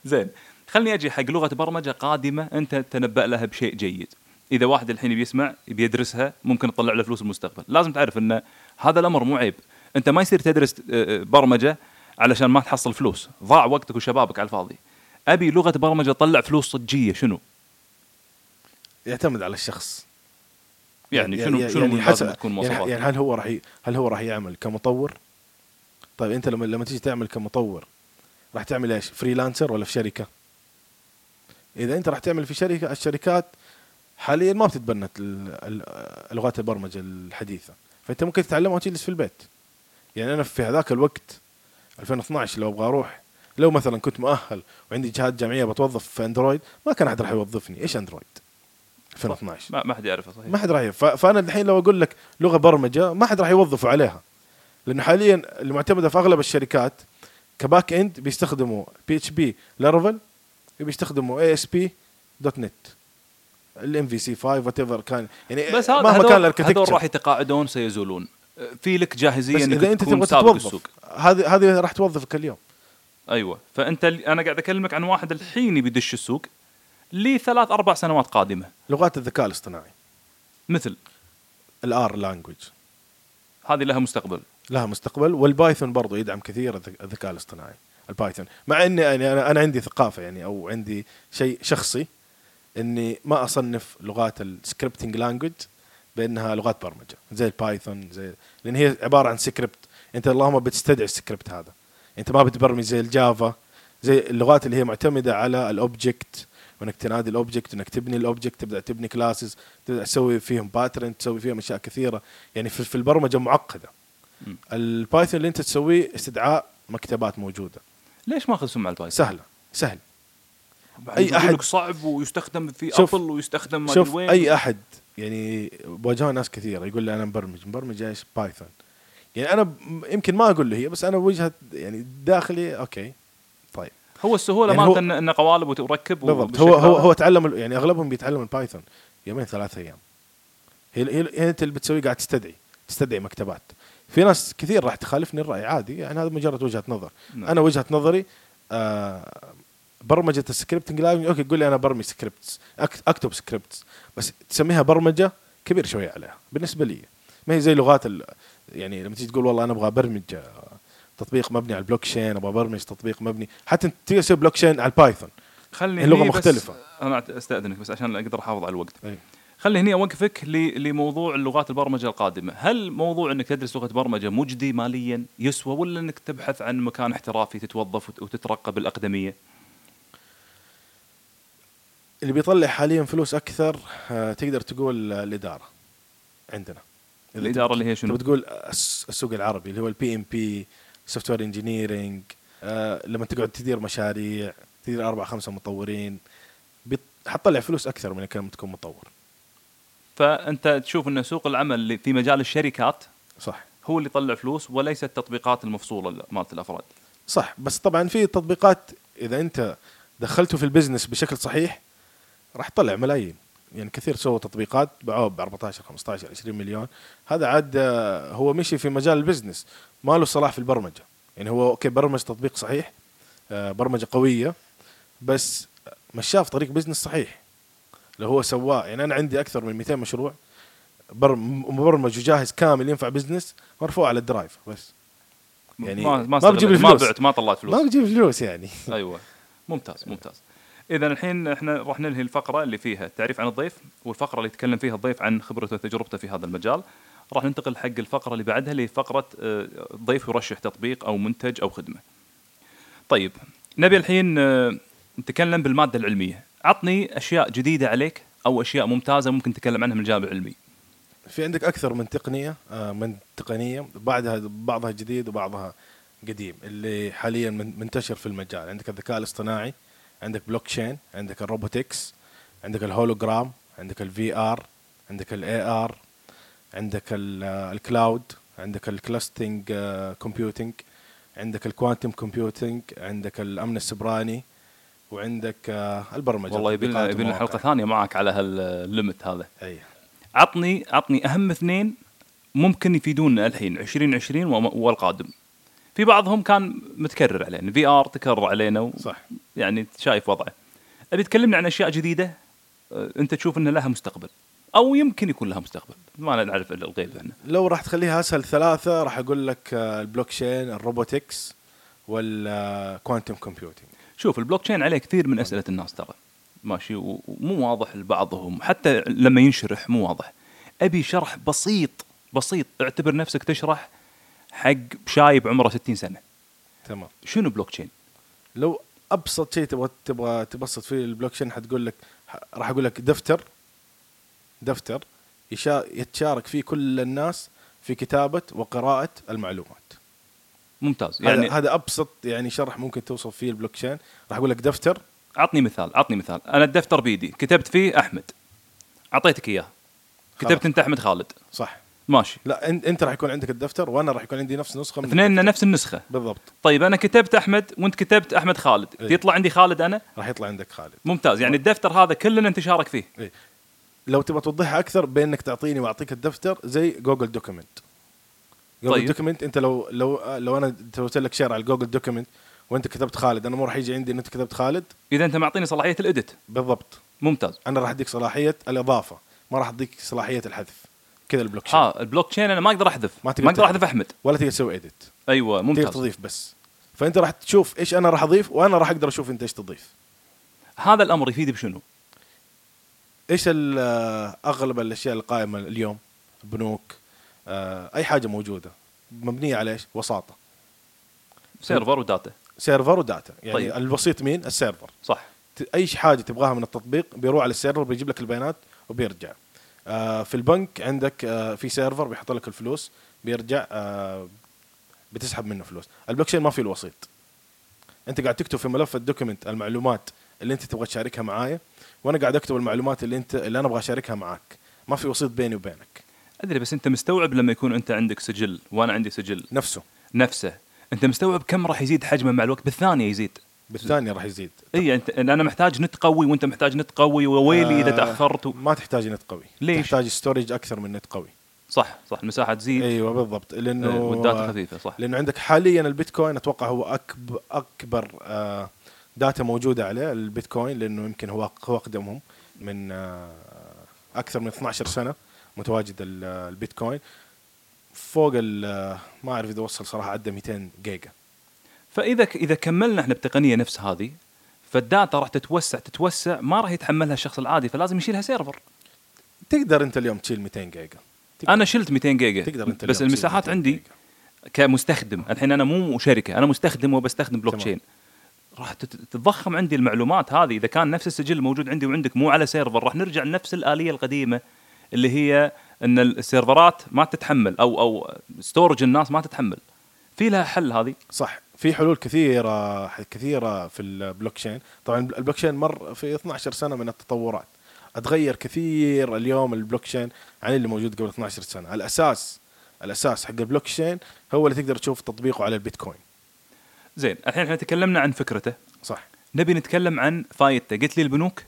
زين خلني اجي حق لغه برمجه قادمه انت تنبأ لها بشيء جيد اذا واحد الحين بيسمع بيدرسها ممكن تطلع له فلوس المستقبل لازم تعرف ان هذا الامر مو عيب انت ما يصير تدرس آه، آه، برمجه علشان ما تحصل فلوس ضاع وقتك وشبابك على الفاضي ابي لغه برمجه تطلع فلوس صجيه شنو
يعتمد على الشخص
يعني شنو شنو يعني لازم تكون
يعني,
مواصفات
يعني هل هو راح ي- هل هو راح يعمل كمطور؟ طيب انت لما لما تيجي تعمل كمطور راح تعمل ايش؟ فريلانسر ولا في شركه؟ اذا انت راح تعمل في شركه الشركات حاليا ما بتتبنى ال- ال- لغات البرمجه الحديثه فانت ممكن تتعلمها وتجلس في البيت يعني انا في هذاك الوقت 2012 لو ابغى اروح لو مثلا كنت مؤهل وعندي جهات جامعيه بتوظف في اندرويد ما كان احد راح يوظفني ايش اندرويد 2012
ما ما حد يعرفه صحيح
ما حد راح يف- فانا الحين لو اقول لك لغه برمجه ما حد راح يوظفوا عليها لانه حاليا المعتمده في اغلب الشركات كباك اند بيستخدموا بي اتش بي لارفل بيستخدموا اي اس بي دوت نت الام في سي 5 وات ايفر كان يعني
بس هذا
مهما كان
هذول,
الاركتكتشر
هذول راح يتقاعدون سيزولون آه، في لك
بس
جاهزيه
اذا
انك
انت
تكون
تبغى
سابق
تتوظف
السوق
هذه هذه راح توظفك اليوم
ايوه فانت ال- انا قاعد اكلمك عن واحد الحين بيدش السوق لثلاث اربع سنوات قادمه
لغات الذكاء الاصطناعي
مثل
الار لانجوج
هذه لها مستقبل
لها مستقبل والبايثون برضو يدعم كثير الذك- الذكاء الاصطناعي البايثون مع اني يعني انا انا عندي ثقافه يعني او عندي شيء شخصي اني ما اصنف لغات السكريبتنج لانجوج بانها لغات برمجه زي البايثون زي لان هي عباره عن سكريبت انت اللهم بتستدعي السكريبت هذا انت ما بتبرمج زي الجافا زي اللغات اللي هي معتمده على الاوبجكت وانك تنادي الاوبجكت وانك تبني الاوبجكت تبدا تبني كلاسز تبدا تسوي فيهم باترن تسوي فيهم اشياء كثيره يعني في في البرمجه معقده البايثون اللي انت تسويه استدعاء مكتبات موجوده
ليش ماخذ سمعه البايثون؟
سهله سهل
بعدين يقول
أحد-
لك صعب ويستخدم في
شوف-
ابل ويستخدم ما أدري
شوف
وين
اي احد يعني واجهوا ناس كثيره يقول لي انا مبرمج مبرمج ايش بايثون يعني انا م- يمكن ما اقول له هي بس انا وجهه يعني داخلي اوكي طيب
هو السهوله
يعني
مالته
هو-
انه إنه قوالب وتركب
بالضبط
وبالشكل
هو هو
هذا.
هو تعلم ال- يعني اغلبهم بيتعلموا البايثون يومين ثلاث ايام هي هي هي انت اللي بتسوي قاعد تستدعي تستدعي مكتبات في ناس كثير راح تخالفني الراي عادي يعني هذا مجرد وجهه نظر
نعم.
انا وجهه نظري آه برمجه السكريبتنج لانجوج اوكي قول لي انا برمج سكريبتس أكت- اكتب سكريبتس بس تسميها برمجه كبير شويه عليها بالنسبه لي ما هي زي لغات ال- يعني لما تيجي تقول والله انا ابغى ابرمج آه، تطبيق مبني على البلوك تشين ابغى ابرمج تطبيق مبني حتى انت تقدر تسوي بلوك تشين على البايثون
خلني
اللغة
هني بس-
مختلفة.
انا استاذنك بس عشان اقدر احافظ على الوقت
أي.
خلي هني اوقفك ل- لموضوع اللغات البرمجه القادمه، هل موضوع انك تدرس لغه برمجه مجدي ماليا يسوى ولا انك تبحث عن مكان احترافي تتوظف وت- وتترقى بالاقدميه؟
اللي بيطلع حاليا فلوس اكثر آه، تقدر تقول آه، الاداره عندنا إذا
الاداره اللي هي شنو؟
تبي تقول آه، الس- السوق العربي اللي هو البي ام بي سوفت وير انجينيرنج آه، لما تقعد تدير مشاريع تدير اربع خمسه مطورين بت- حتطلع فلوس اكثر من كم تكون مطور
فانت تشوف ان سوق العمل اللي في مجال الشركات
صح
هو اللي يطلع فلوس وليس التطبيقات المفصوله ل- مالت الافراد.
صح بس طبعا في تطبيقات اذا انت دخلته في البزنس بشكل صحيح راح تطلع ملايين يعني كثير سووا تطبيقات باعوها ب 14 15 20 مليون هذا عاد آه، هو مشي في مجال البزنس ما له صلاح في البرمجه يعني هو اوكي برمج تطبيق صحيح آه، برمجه قويه بس مشاه في طريق بزنس صحيح اللي هو سواه يعني انا عندي اكثر من 200 مشروع بر- مبرمج وجاهز كامل ينفع بزنس مرفوع على الدرايف بس يعني
ما
ما
ما,
بجيب
بجيب
لي
ما
فلوس.
بعت ما طلعت فلوس.
ما بجيب فلوس يعني
ايوه ممتاز ممتاز اذا الحين احنا راح ننهي الفقره اللي فيها التعريف عن الضيف والفقره اللي يتكلم فيها الضيف عن خبرته وتجربته في هذا المجال راح ننتقل حق الفقره اللي بعدها لفقره آه، الضيف يرشح تطبيق او منتج او خدمه طيب نبي الحين آه، نتكلم بالماده العلميه عطني اشياء جديده عليك او اشياء ممتازه ممكن نتكلم عنها من الجانب العلمي
في عندك اكثر من تقنيه آه، من تقنيه بعدها بعضها جديد وبعضها قديم اللي حاليا من- منتشر في المجال عندك الذكاء الاصطناعي عندك بلوك تشين عندك الروبوتكس عندك الهولوجرام عندك الفي ار عندك الاي ار عندك ال- آه، الكلاود عندك الكلاستنج آه، كومبيوتنج عندك الكوانتم كومبيوتنج عندك الامن السبراني وعندك آه، البرمجه
والله يبي لنا
تطبيقات
يبي لنا
ومواقع.
حلقه ثانيه معك على هالليمت هذا
اي
عطني عطني اهم اثنين ممكن يفيدونا الحين 2020 وم- والقادم في بعضهم كان متكرر علينا في ار تكرر علينا و...
صح
يعني شايف وضعه ابي تكلمنا عن اشياء جديده أه، انت تشوف ان لها مستقبل او يمكن يكون لها مستقبل ما نعرف إلا الغيب احنا
لو راح تخليها اسهل ثلاثه راح اقول لك آه، البلوكشين الروبوتكس والكوانتم كومبيوتنج
شوف البلوك تشين عليه كثير من اسئله الناس ترى ماشي و- ومو واضح لبعضهم حتى لما ينشرح مو واضح ابي شرح بسيط بسيط اعتبر نفسك تشرح حق شايب عمره 60 سنه
تمام
شنو بلوك تشين
لو ابسط شيء تبغى تبغى تبسط فيه البلوكشين حتقول لك ح- راح اقول لك دفتر دفتر يشا- يتشارك فيه كل الناس في كتابه وقراءه المعلومات
ممتاز
يعني
يعني
هذا ابسط يعني شرح ممكن توصف فيه البلوكشين راح اقول لك دفتر
عطني مثال عطني مثال انا الدفتر بيدي كتبت فيه احمد اعطيتك اياه كتبت
خلاص.
انت احمد خالد
صح
ماشي
لا أن- انت راح يكون عندك الدفتر وانا راح يكون عندي نفس نسخه من
اثنيننا نفس النسخه
بالضبط
طيب انا كتبت احمد وانت كتبت احمد خالد
إيه.
يطلع عندي خالد انا
راح يطلع عندك خالد
ممتاز يعني الدفتر هذا كلنا نتشارك فيه
إيه. لو تبغى توضحها اكثر بين انك تعطيني واعطيك الدفتر زي جوجل دوكيمنت جوجل
طيب.
طيب. دوكيمنت انت لو لو لو انا سويت لك شير على جوجل دوكيمنت وانت كتبت خالد انا مو راح يجي عندي ان انت كتبت خالد
اذا انت معطيني صلاحيه الاديت
بالضبط
ممتاز
انا راح اديك صلاحيه الاضافه ما راح اديك صلاحيه الحذف كذا البلوك تشين
ها البلوك تشين انا ما اقدر احذف
ما
ما,
تقدر
اقدر
تحذف.
احذف احمد
ولا تقدر تسوي اديت
ايوه
تقدر
ممتاز
تضيف بس فانت راح تشوف ايش انا راح اضيف وانا راح اقدر اشوف انت ايش تضيف
هذا الامر يفيد بشنو؟
ايش ال- آه، اغلب الاشياء القائمه اليوم بنوك آه، اي حاجه موجوده مبنيه على ايش وساطه
سيرفر وداتا
سيرفر وداتا يعني
طيب.
طيب. الوسيط مين السيرفر
صح
ت- اي حاجه تبغاها من التطبيق بيروح على السيرفر بيجيب لك البيانات وبيرجع آه في البنك عندك آه في سيرفر بيحط لك الفلوس بيرجع آه بتسحب منه فلوس البلوكشين ما فيه الوسيط انت قاعد تكتب في ملف الدوكيمنت المعلومات اللي انت تبغى تشاركها معايا وانا قاعد اكتب المعلومات اللي انت اللي انا ابغى اشاركها معاك ما في وسيط بيني وبينك
ادري بس انت مستوعب لما يكون انت عندك سجل وانا عندي سجل
نفسه
نفسه انت مستوعب كم راح يزيد حجمه مع الوقت بالثانيه يزيد
بالثانيه راح يزيد
اي انت إن انا محتاج نت قوي وانت محتاج نت قوي وويلي اذا
آه،
تاخرت و...
ما تحتاج نت قوي
ليش؟
تحتاج ستورج اكثر من نت قوي
صح صح المساحه تزيد
ايوه بالضبط
آه،
لانه
والداتا خفيفه صح
لانه عندك حاليا البيتكوين اتوقع هو اكبر اكبر آه، داتا موجوده عليه البيتكوين لانه يمكن هو هو اقدمهم من آه، اكثر من 12 سنه متواجد ال- آه، البيتكوين فوق ال- آه، ما اعرف اذا وصل صراحه عدى 200 جيجا
فاذا ك- اذا كملنا احنا بتقنيه نفس هذه فالداتا راح تتوسع تتوسع ما راح يتحملها الشخص العادي فلازم يشيلها سيرفر
تقدر انت اليوم تشيل 200 جيجا تقدر-
انا شلت 200 جيجا
تقدر انت
بس
اليوم تشيل
المساحات
200
عندي
جيجا.
كمستخدم الحين انا مو شركه انا مستخدم وبستخدم بلوك
تمام.
تشين راح تت- تتضخم عندي المعلومات هذه اذا كان نفس السجل موجود عندي وعندك مو على سيرفر راح نرجع لنفس الاليه القديمه اللي هي ان السيرفرات ما تتحمل او او ستورج الناس ما تتحمل في لها حل هذه
صح في حلول كثيره كثيره في البلوكشين طبعا البلوكشين مر في 12 سنه من التطورات اتغير كثير اليوم البلوكشين عن اللي موجود قبل 12 سنه الاساس الاساس حق البلوكشين هو اللي تقدر تشوف تطبيقه على البيتكوين
زين الحين احنا تكلمنا عن فكرته
صح
نبي نتكلم عن فايدته قلت لي البنوك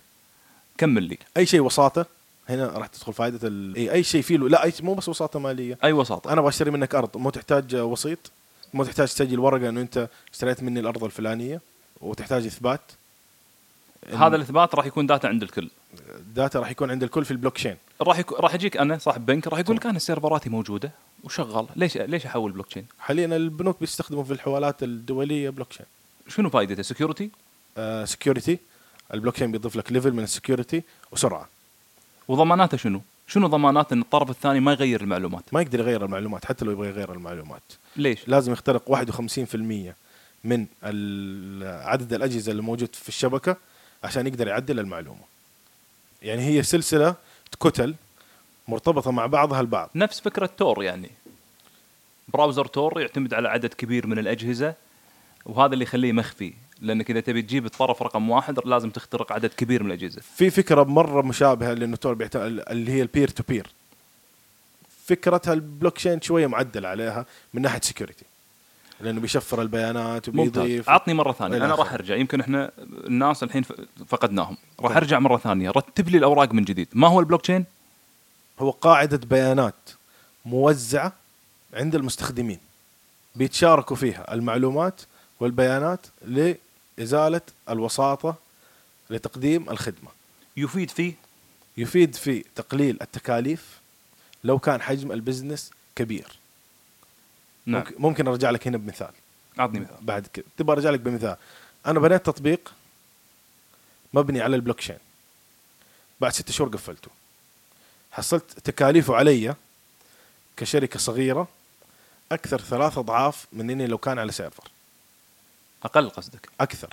كمل لي
اي شيء وساطه هنا راح تدخل فائده ال... إيه، أي- اي شيء فيه له لا أي... مو بس وساطه ماليه
اي وساطه
انا ابغى اشتري منك ارض مو تحتاج وسيط مو تحتاج تسجل ورقه انه انت اشتريت مني الارض الفلانيه وتحتاج اثبات
هذا الاثبات راح يكون داتا عند الكل
الداتا راح يكون عند الكل في البلوكشين
راح يك... راح يجيك انا صاحب بنك راح يقول لك انا سيرفراتي موجوده وشغال ليش ليش احول بلوك تشين؟
حاليا البنوك بيستخدموا في الحوالات الدوليه بلوكشين
شنو فائدته؟ سكيورتي
سكيورتي آه، البلوكشين بيضيف لك ليفل من السكيورتي وسرعه
وضماناته شنو؟ شنو ضمانات ان الطرف الثاني ما يغير المعلومات؟
ما يقدر يغير المعلومات حتى لو يبغى يغير المعلومات
ليش؟
لازم يخترق 51% من ال- عدد الاجهزه اللي موجود في الشبكه عشان يقدر يعدل المعلومه يعني هي سلسله كتل مرتبطه مع بعضها البعض
نفس فكره تور يعني براوزر تور يعتمد على عدد كبير من الاجهزه وهذا اللي يخليه مخفي لانك اذا تبي تجيب الطرف رقم واحد لازم تخترق عدد كبير من الاجهزه
في فكره مره مشابهه للنتور بيعت- اللي هي البير تو بير فكرتها البلوك تشين شويه معدل عليها من ناحيه سكيورتي لانه بيشفر البيانات
ممتاز
وبيضيف
عطني مره ثانيه
إلى
انا راح
آخره.
ارجع يمكن احنا الناس الحين ف- فقدناهم راح
طيب.
ارجع مره ثانيه رتب لي الاوراق من جديد ما هو البلوك تشين
هو قاعده بيانات موزعه عند المستخدمين بيتشاركوا فيها المعلومات والبيانات لازاله الوساطه لتقديم الخدمه
يفيد فيه
يفيد في تقليل التكاليف لو كان حجم البزنس كبير
نعم
ممكن- ممكن ارجع لك هنا بمثال
اعطني مثال
بعد كذا تبغى ارجع لك بمثال انا بنيت تطبيق مبني على البلوكشين بعد ست شهور قفلته حصلت تكاليفه علي كشركه صغيره اكثر ثلاث اضعاف من اني لو كان على سيرفر
اقل قصدك
اكثر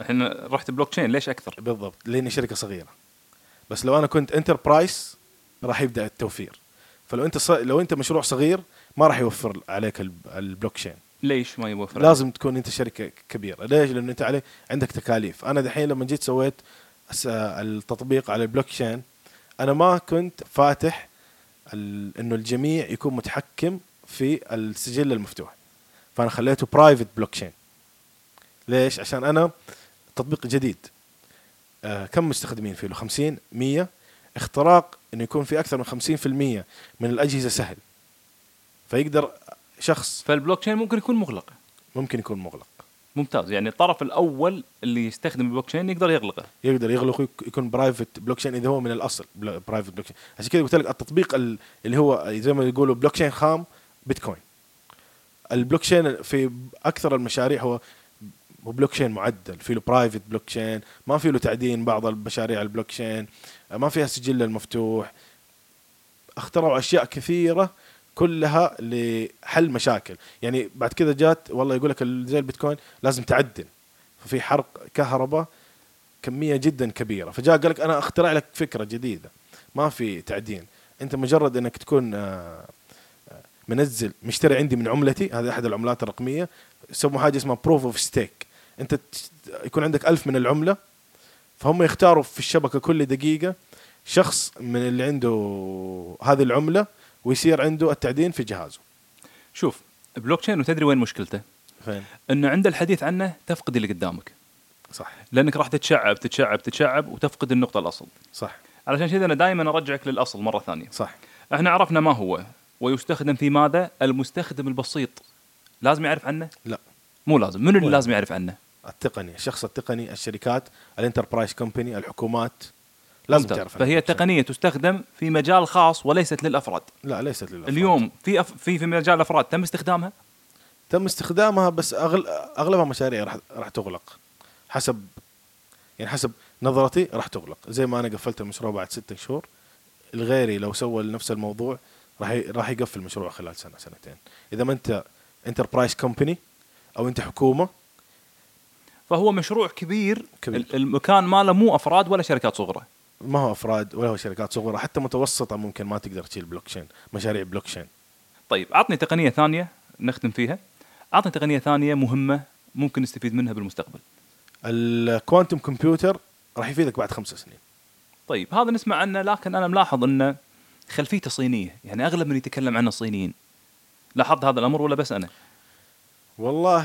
الحين رحت بلوك تشين ليش اكثر
بالضبط لاني شركه صغيره بس لو انا كنت انتربرايز راح يبدا التوفير فلو انت ص... لو انت مشروع صغير ما راح يوفر عليك الب... البلوكشين
ليش ما يوفر
لازم تكون انت شركه كبيره ليش لانه انت عليه عندك تكاليف انا دحين لما جيت سويت الس- التطبيق على البلوك تشين انا ما كنت فاتح ال- انه الجميع يكون متحكم في السجل المفتوح فانا خليته برايفت بلوك تشين ليش عشان انا تطبيق جديد آه كم مستخدمين فيه له 50 100 اختراق انه يكون في اكثر من 50% من الاجهزه سهل فيقدر شخص
فالبلوك تشين ممكن يكون مغلق
ممكن يكون مغلق
ممتاز يعني الطرف الاول اللي يستخدم البلوك تشين يقدر يغلقه
يقدر يغلق ويك- يكون برايفت بلوك تشين اذا هو من الاصل برايفت بلوك تشين عشان كذا قلت لك التطبيق ال- اللي هو زي ما يقولوا بلوك تشين خام بيتكوين البلوك تشين في اكثر المشاريع هو هو بلوك تشين معدل في له برايفت بلوك تشين ما في له تعدين بعض المشاريع البلوك تشين ما فيها سجل المفتوح اخترعوا اشياء كثيره كلها لحل مشاكل يعني بعد كذا جات والله يقول لك ال- زي البيتكوين لازم تعدل ففي حرق كهرباء كميه جدا كبيره فجاء قال لك انا اخترع لك فكره جديده ما في تعدين انت مجرد انك تكون آه، آه، منزل مشتري عندي من عملتي هذه احد العملات الرقميه يسموا حاجه اسمها بروف اوف ستيك انت تشت- يكون عندك ألف من العمله فهم يختاروا في الشبكه كل دقيقه شخص من اللي عنده هذه العمله ويصير عنده التعدين في جهازه
شوف بلوك تشين وتدري وين مشكلته
فين
انه عند الحديث عنه تفقد اللي قدامك
صح
لانك راح تتشعب تتشعب تتشعب وتفقد النقطه الاصل
صح
علشان كذا انا دائما ارجعك للاصل مره ثانيه
صح
احنا عرفنا ما هو ويستخدم في ماذا المستخدم البسيط لازم يعرف عنه
لا
مو لازم منو اللي
ولا.
لازم يعرف عنه
التقني الشخص التقني الشركات الانتربرايز كومباني الحكومات لازم
ممتاز.
تعرف
فهي
عنها.
تقنيه تستخدم في مجال خاص وليست للافراد
لا ليست للأفراد.
اليوم في أف... في في مجال الافراد تم استخدامها
تم استخدامها بس أغل... اغلبها مشاريع راح راح تغلق حسب يعني حسب نظرتي راح تغلق زي ما انا قفلت المشروع بعد ستة شهور الغيري لو سوى نفس الموضوع راح ي... راح يقفل مشروعه خلال سنه سنتين اذا ما انت انتربرايز كومباني او انت حكومه
فهو مشروع كبير,
كبير.
ال- المكان ماله مو افراد ولا شركات صغرى
ما هو افراد ولا هو شركات صغيره حتى متوسطه ممكن ما تقدر تشيل بلوكشين مشاريع بلوكشين
طيب عطني تقنيه ثانيه نختم فيها عطني تقنيه ثانيه مهمه ممكن نستفيد منها بالمستقبل
الكوانتم كمبيوتر راح يفيدك بعد خمس سنين
طيب هذا نسمع عنه لكن انا ملاحظ انه خلفيته صينيه يعني اغلب من يتكلم عنه صينيين لاحظت هذا الامر ولا بس انا
والله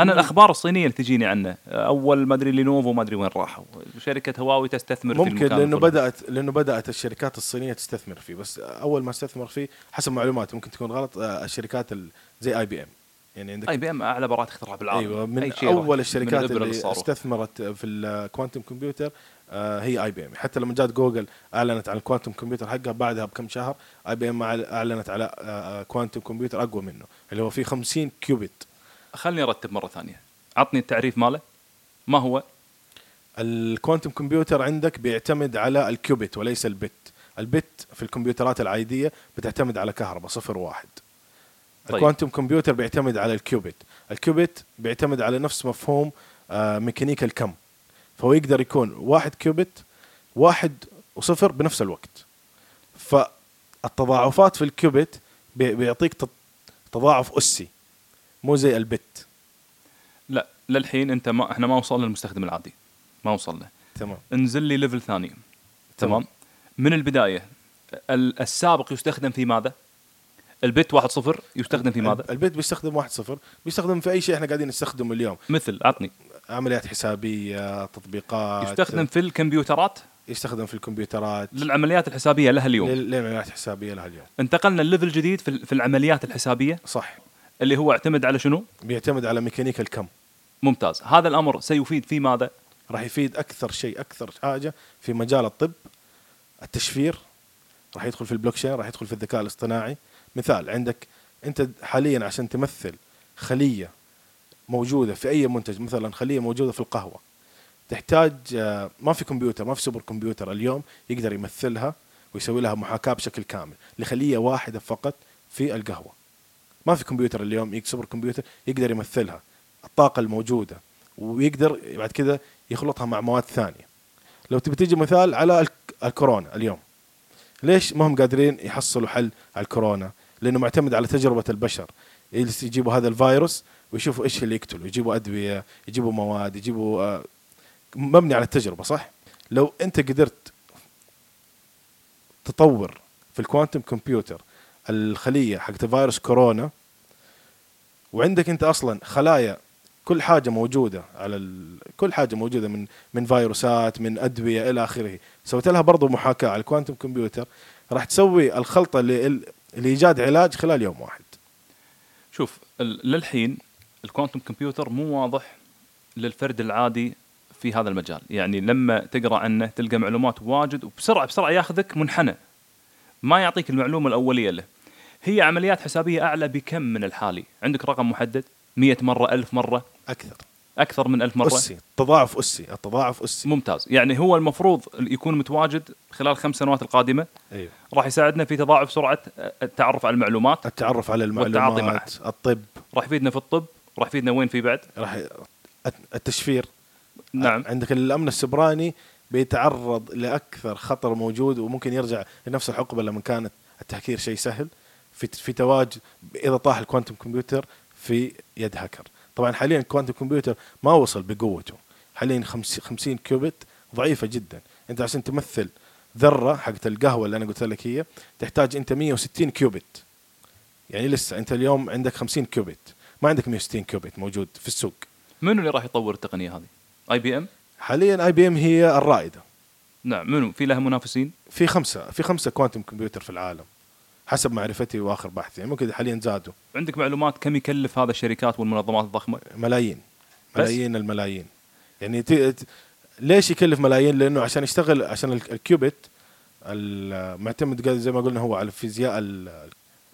انا الاخبار الصينيه اللي تجيني عنه اول ما ادري لينوفو ما ادري وين راحوا شركه هواوي تستثمر في
ممكن
المكان
لانه
الفلاني.
بدات لانه بدات الشركات الصينيه تستثمر فيه بس اول ما استثمر فيه حسب معلومات ممكن تكون غلط آه، الشركات ال- زي اي بي ام يعني عندك
اي بي ام اعلى براءه اختراع بالعالم
ايوه من
أي شيء راح.
اول
من
الشركات
الإبرة
اللي
للصاروخ.
استثمرت في الكوانتم كمبيوتر آه، هي اي بي ام حتى لما جات جوجل اعلنت عن الكوانتم كمبيوتر حقها بعدها بكم شهر اي بي ام اعلنت على آه، آه، كوانتم كمبيوتر اقوى منه اللي هو فيه 50 كيوبيت
خلني ارتب مره ثانيه عطني التعريف ماله ما هو
الكوانتم كمبيوتر عندك بيعتمد على الكيوبيت وليس البت البت في الكمبيوترات العادية بتعتمد على كهرباء صفر واحد
طيب.
طيب. الكوانتم كمبيوتر بيعتمد على الكيوبيت الكيوبيت بيعتمد على نفس مفهوم آه ميكانيكا الكم فهو يقدر يكون واحد كيوبيت واحد وصفر بنفس الوقت فالتضاعفات في الكيوبيت بي- بيعطيك تض- تضاعف أسي مو زي البت
لا للحين انت ما احنا ما وصلنا للمستخدم العادي ما وصلنا
تمام
انزل لي ليفل ثاني تمام من البدايه ال- السابق يستخدم في ماذا؟ البت 1-0 يستخدم في ماذا؟
البيت بيستخدم 1-0 بيستخدم في اي شيء احنا قاعدين نستخدمه اليوم
مثل عطني
عمليات حسابيه تطبيقات
يستخدم في الكمبيوترات
يستخدم في الكمبيوترات
للعمليات الحسابيه لها اليوم
لل- للعمليات الحسابيه لها اليوم
انتقلنا لليفل جديد في ال- في العمليات الحسابيه
صح
اللي هو اعتمد على شنو؟
بيعتمد على ميكانيكا الكم
ممتاز هذا الامر سيفيد في ماذا؟
راح يفيد اكثر شيء اكثر حاجه في مجال الطب التشفير راح يدخل في البلوكشين راح يدخل في الذكاء الاصطناعي مثال عندك انت حاليا عشان تمثل خليه موجوده في اي منتج مثلا خليه موجوده في القهوه تحتاج آه، ما في كمبيوتر ما في سوبر كمبيوتر اليوم يقدر يمثلها ويسوي لها محاكاه بشكل كامل لخليه واحده فقط في القهوه ما في كمبيوتر اليوم يك- سوبر كمبيوتر يقدر يمثلها الطاقه الموجوده ويقدر بعد كذا يخلطها مع مواد ثانيه لو تبي تيجي مثال على الك- الكورونا اليوم ليش ما هم قادرين يحصلوا حل على الكورونا لانه معتمد على تجربه البشر يجلس يجيبوا هذا الفيروس ويشوفوا ايش اللي يقتله يجيبوا ادويه يجيبوا مواد يجيبوا آه، مبني على التجربه صح لو انت قدرت تطور في الكوانتم كمبيوتر الخليه حقت فيروس كورونا وعندك انت اصلا خلايا كل حاجه موجوده على ال... كل حاجه موجوده من من فيروسات من ادويه الى اخره سويت لها برضو محاكاه على الكوانتم كمبيوتر راح تسوي الخلطه ل... لايجاد علاج خلال يوم واحد
شوف ال- للحين الكوانتم كمبيوتر مو واضح للفرد العادي في هذا المجال يعني لما تقرا عنه تلقى معلومات واجد وبسرعه بسرعه ياخذك منحنى ما يعطيك المعلومه الاوليه له هي عمليات حسابيه اعلى بكم من الحالي عندك رقم محدد 100 مره 1000 مره
اكثر
اكثر من 1000 مره
اسي تضاعف اسي التضاعف اسي
ممتاز يعني هو المفروض يكون متواجد خلال خمس سنوات القادمه
ايوه
راح يساعدنا في تضاعف سرعه التعرف على المعلومات
التعرف على
والتعاطي معه.
المعلومات الطب
راح يفيدنا في الطب راح يفيدنا وين في بعد
راح الت- التشفير
نعم
عندك الامن السبراني بيتعرض لاكثر خطر موجود وممكن يرجع لنفس الحقبه لما كانت التهكير شيء سهل في في تواجد اذا طاح الكوانتم كمبيوتر في يد هاكر طبعا حاليا الكوانتم كمبيوتر ما وصل بقوته حاليا 50 50 كيوبت ضعيفه جدا انت عشان تمثل ذره حقت القهوه اللي انا قلت لك هي تحتاج انت 160 كيوبت يعني لسه انت اليوم عندك 50 كيوبت ما عندك 160 كيوبت موجود في السوق
منو اللي راح يطور التقنيه هذه اي بي ام
حاليا اي بي ام هي الرائده
نعم منو في لها منافسين
في خمسه في خمسه كوانتم كمبيوتر في العالم حسب معرفتي واخر بحثي يعني ممكن حاليا زادوا
عندك معلومات كم يكلف هذا الشركات والمنظمات الضخمه
ملايين ملايين الملايين يعني ت... ت- ليش يكلف ملايين لانه عشان يشتغل عشان ال- الكيوبت ال- معتمد قال- زي ما قلنا هو على فيزياء ال-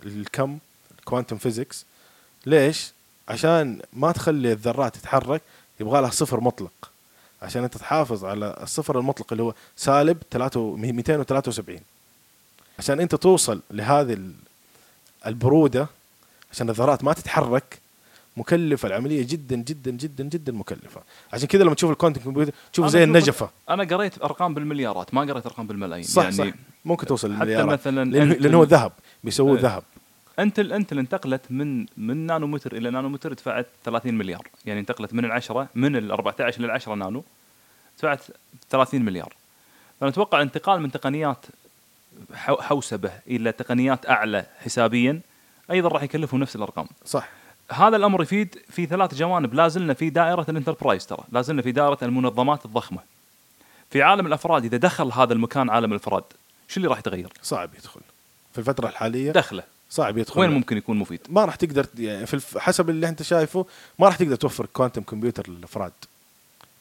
الكم الكوانتم فيزيكس ليش عشان ما تخلي الذرات تتحرك يبغى لها صفر مطلق عشان انت تحافظ على الصفر المطلق اللي هو سالب 3 273 عشان انت توصل لهذه ال- البروده عشان الذرات ما تتحرك مكلفه العمليه جدا جدا جدا جدا مكلفه عشان كده لما تشوف الكوانتم كمبيوتر تشوفه
أنا
زي
أشوف-
النجفه
انا قريت ارقام بالمليارات ما قريت ارقام بالملايين
صح
يعني
يعني صح ممكن توصل
حتى
للمليارات
مثلاً
لانه
أنت-
لأنه هو ذهب بيسووه
إيه.
ذهب
انتل انتل انتقلت من من نانومتر الى نانومتر دفعت 30 مليار يعني انتقلت من العشرة من ال 14 لل 10 نانو دفعت 30 مليار فانا اتوقع انتقال من تقنيات حو- حوسبه الى تقنيات اعلى حسابيا ايضا راح يكلفهم نفس الارقام
صح
هذا الامر يفيد في ثلاث جوانب لا زلنا في دائره الانتربرايز ترى لا زلنا في دائره المنظمات الضخمه في عالم الافراد اذا دخل هذا المكان عالم الافراد شو اللي راح يتغير
صعب يدخل في الفتره الحاليه
دخله
صعب يدخل
وين ممكن يكون مفيد
ما راح تقدر يعني في الف- حسب اللي انت شايفه ما راح تقدر توفر كوانتم كمبيوتر للافراد